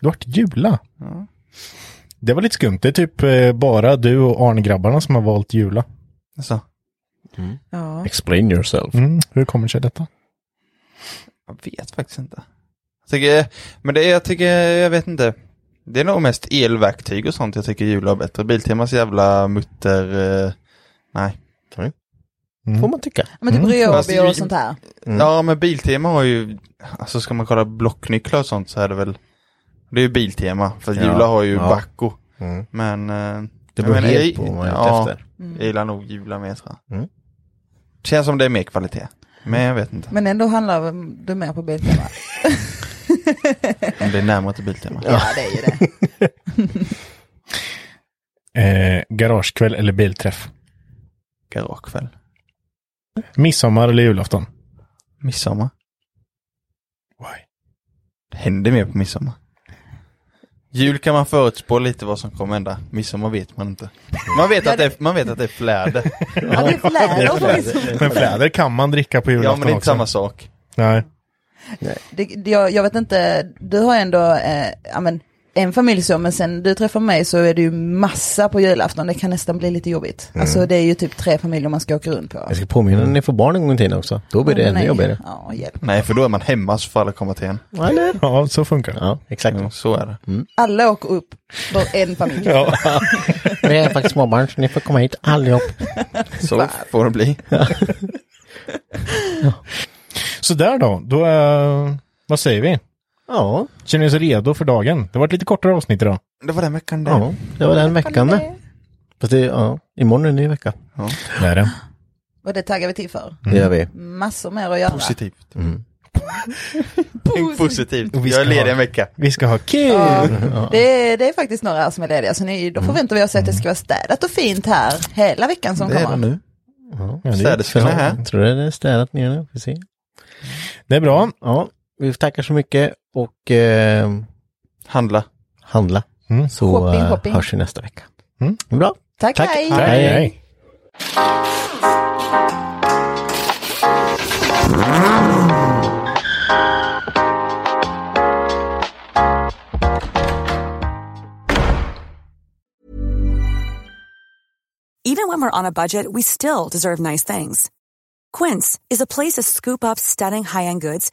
Speaker 3: Det vart Jula. Det var lite skumt. Det är typ eh, bara du och Arne-grabbarna som har valt Jula.
Speaker 6: Alltså,
Speaker 5: ja.
Speaker 2: Explain yourself.
Speaker 3: Mm. Hur kommer sig detta?
Speaker 6: jag vet faktiskt inte. Jag tycker, men det är, jag tycker, jag vet inte. Det är nog mest elverktyg och sånt jag tycker Jula har bättre. Biltemas jävla mutter... Eh, nej.
Speaker 3: Mm.
Speaker 2: Får man tycka.
Speaker 5: Men typ
Speaker 3: Mm.
Speaker 6: Fast
Speaker 5: Ryobi
Speaker 6: ju-
Speaker 5: och sånt här.
Speaker 2: Mm.
Speaker 6: Ja, men Biltema har ju, alltså ska man kolla blocknycklar och sånt så är det väl, det är ju Biltema, för
Speaker 2: Ja.
Speaker 6: Jula har ju
Speaker 2: Ja.
Speaker 6: Bacco. Mm. Men... eh,
Speaker 2: Det
Speaker 6: jag
Speaker 2: beror
Speaker 6: menar,
Speaker 2: helt
Speaker 6: jag-
Speaker 2: på vad man är
Speaker 6: ja,
Speaker 2: ute efter.
Speaker 5: Mm.
Speaker 6: Jag gillar nog jula mer tror jag.
Speaker 2: Mm.
Speaker 6: Känns som det är mer kvalitet. Men jag vet inte.
Speaker 5: Men ändå handlar du mer på Biltema.
Speaker 6: Om det är närmare till Biltema.
Speaker 5: ja, det är ju det.
Speaker 3: Eh, garagekväll eller bilträff?
Speaker 6: Garagekväll.
Speaker 3: Midsommar eller julafton?
Speaker 6: Midsommar. Det händer mer på midsommar. Jul kan man förutspå lite vad som kommer hända. Midsommar vet man inte. Man vet att det är, man vet att det är fläder.
Speaker 5: Ja, det är fläder på midsommar.
Speaker 3: Men fläder kan man dricka på julafton
Speaker 6: Ja, men det är inte
Speaker 3: också.
Speaker 6: samma sak.
Speaker 3: Nej.
Speaker 5: Det, det- jag, jag vet inte, du har ändå eh, ja, men, en familj så, men sen du träffar mig så är det ju massa på julafton. Det kan nästan bli lite jobbigt. Alltså det är ju typ tre familjer man ska åka runt på.
Speaker 2: Jag ska påminna när Mm, ni får barn en gång i tiden också. Då blir det
Speaker 5: Åh,
Speaker 2: ännu
Speaker 5: nej.
Speaker 2: jobbigare.
Speaker 5: Ja, hjälp.
Speaker 6: Nej, för då är man hemma så får alla komma till en.
Speaker 2: Eller?
Speaker 3: Ja, så funkar det.
Speaker 2: Ja, exakt.
Speaker 6: Jo, så är det.
Speaker 5: Alla åker upp för en familj.
Speaker 3: Ja.
Speaker 2: Vi är faktiskt småbarn så ni får komma hit allihop.
Speaker 6: Så får det bli.
Speaker 3: Så där då. då eh, vad säger vi?
Speaker 2: Ja,
Speaker 3: Känner ni oss redo för dagen? Det var ett lite kortare avsnitt idag.
Speaker 6: Det var den veckan det.
Speaker 2: ja det var den veckan det. Fast det, ja, imorgon är en ny vecka.
Speaker 3: Det är det.
Speaker 5: Och det taggar vi till för.
Speaker 2: Det gör vi.
Speaker 5: Massor mer att göra.
Speaker 6: Positivt.
Speaker 2: Mm.
Speaker 6: Tänk positivt.
Speaker 3: Och vi
Speaker 6: Jag är
Speaker 3: ska ha-
Speaker 6: ledig en vecka.
Speaker 3: Vi ska ha kul!
Speaker 5: Ja, det, är- det är faktiskt några här som är lediga, så ni, då förväntar vi oss att det ska vara städat och fint här hela veckan som
Speaker 6: Det är det
Speaker 5: kommer.
Speaker 6: nu.
Speaker 2: Ja.
Speaker 3: Ja, det,
Speaker 6: Städerskorna är här.
Speaker 2: Jag tror det är städat nu. nu. Vi får se.
Speaker 3: det är bra.
Speaker 2: Ja, vi tackar så mycket och eh,
Speaker 6: Handla.
Speaker 2: handla.
Speaker 3: Mm.
Speaker 2: Så
Speaker 5: Shopping,
Speaker 2: eh,
Speaker 5: shopping.
Speaker 2: hörs vi nästa vecka.
Speaker 3: Mm.
Speaker 2: Bra.
Speaker 5: Tack,
Speaker 2: Tack.
Speaker 5: hej!
Speaker 2: Tack.
Speaker 3: Hej, hej.
Speaker 9: Even when we're on a budget, we still deserve nice things. Quince is a place to scoop up stunning high-end goods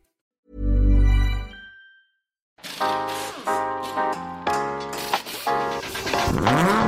Speaker 8: snabbare.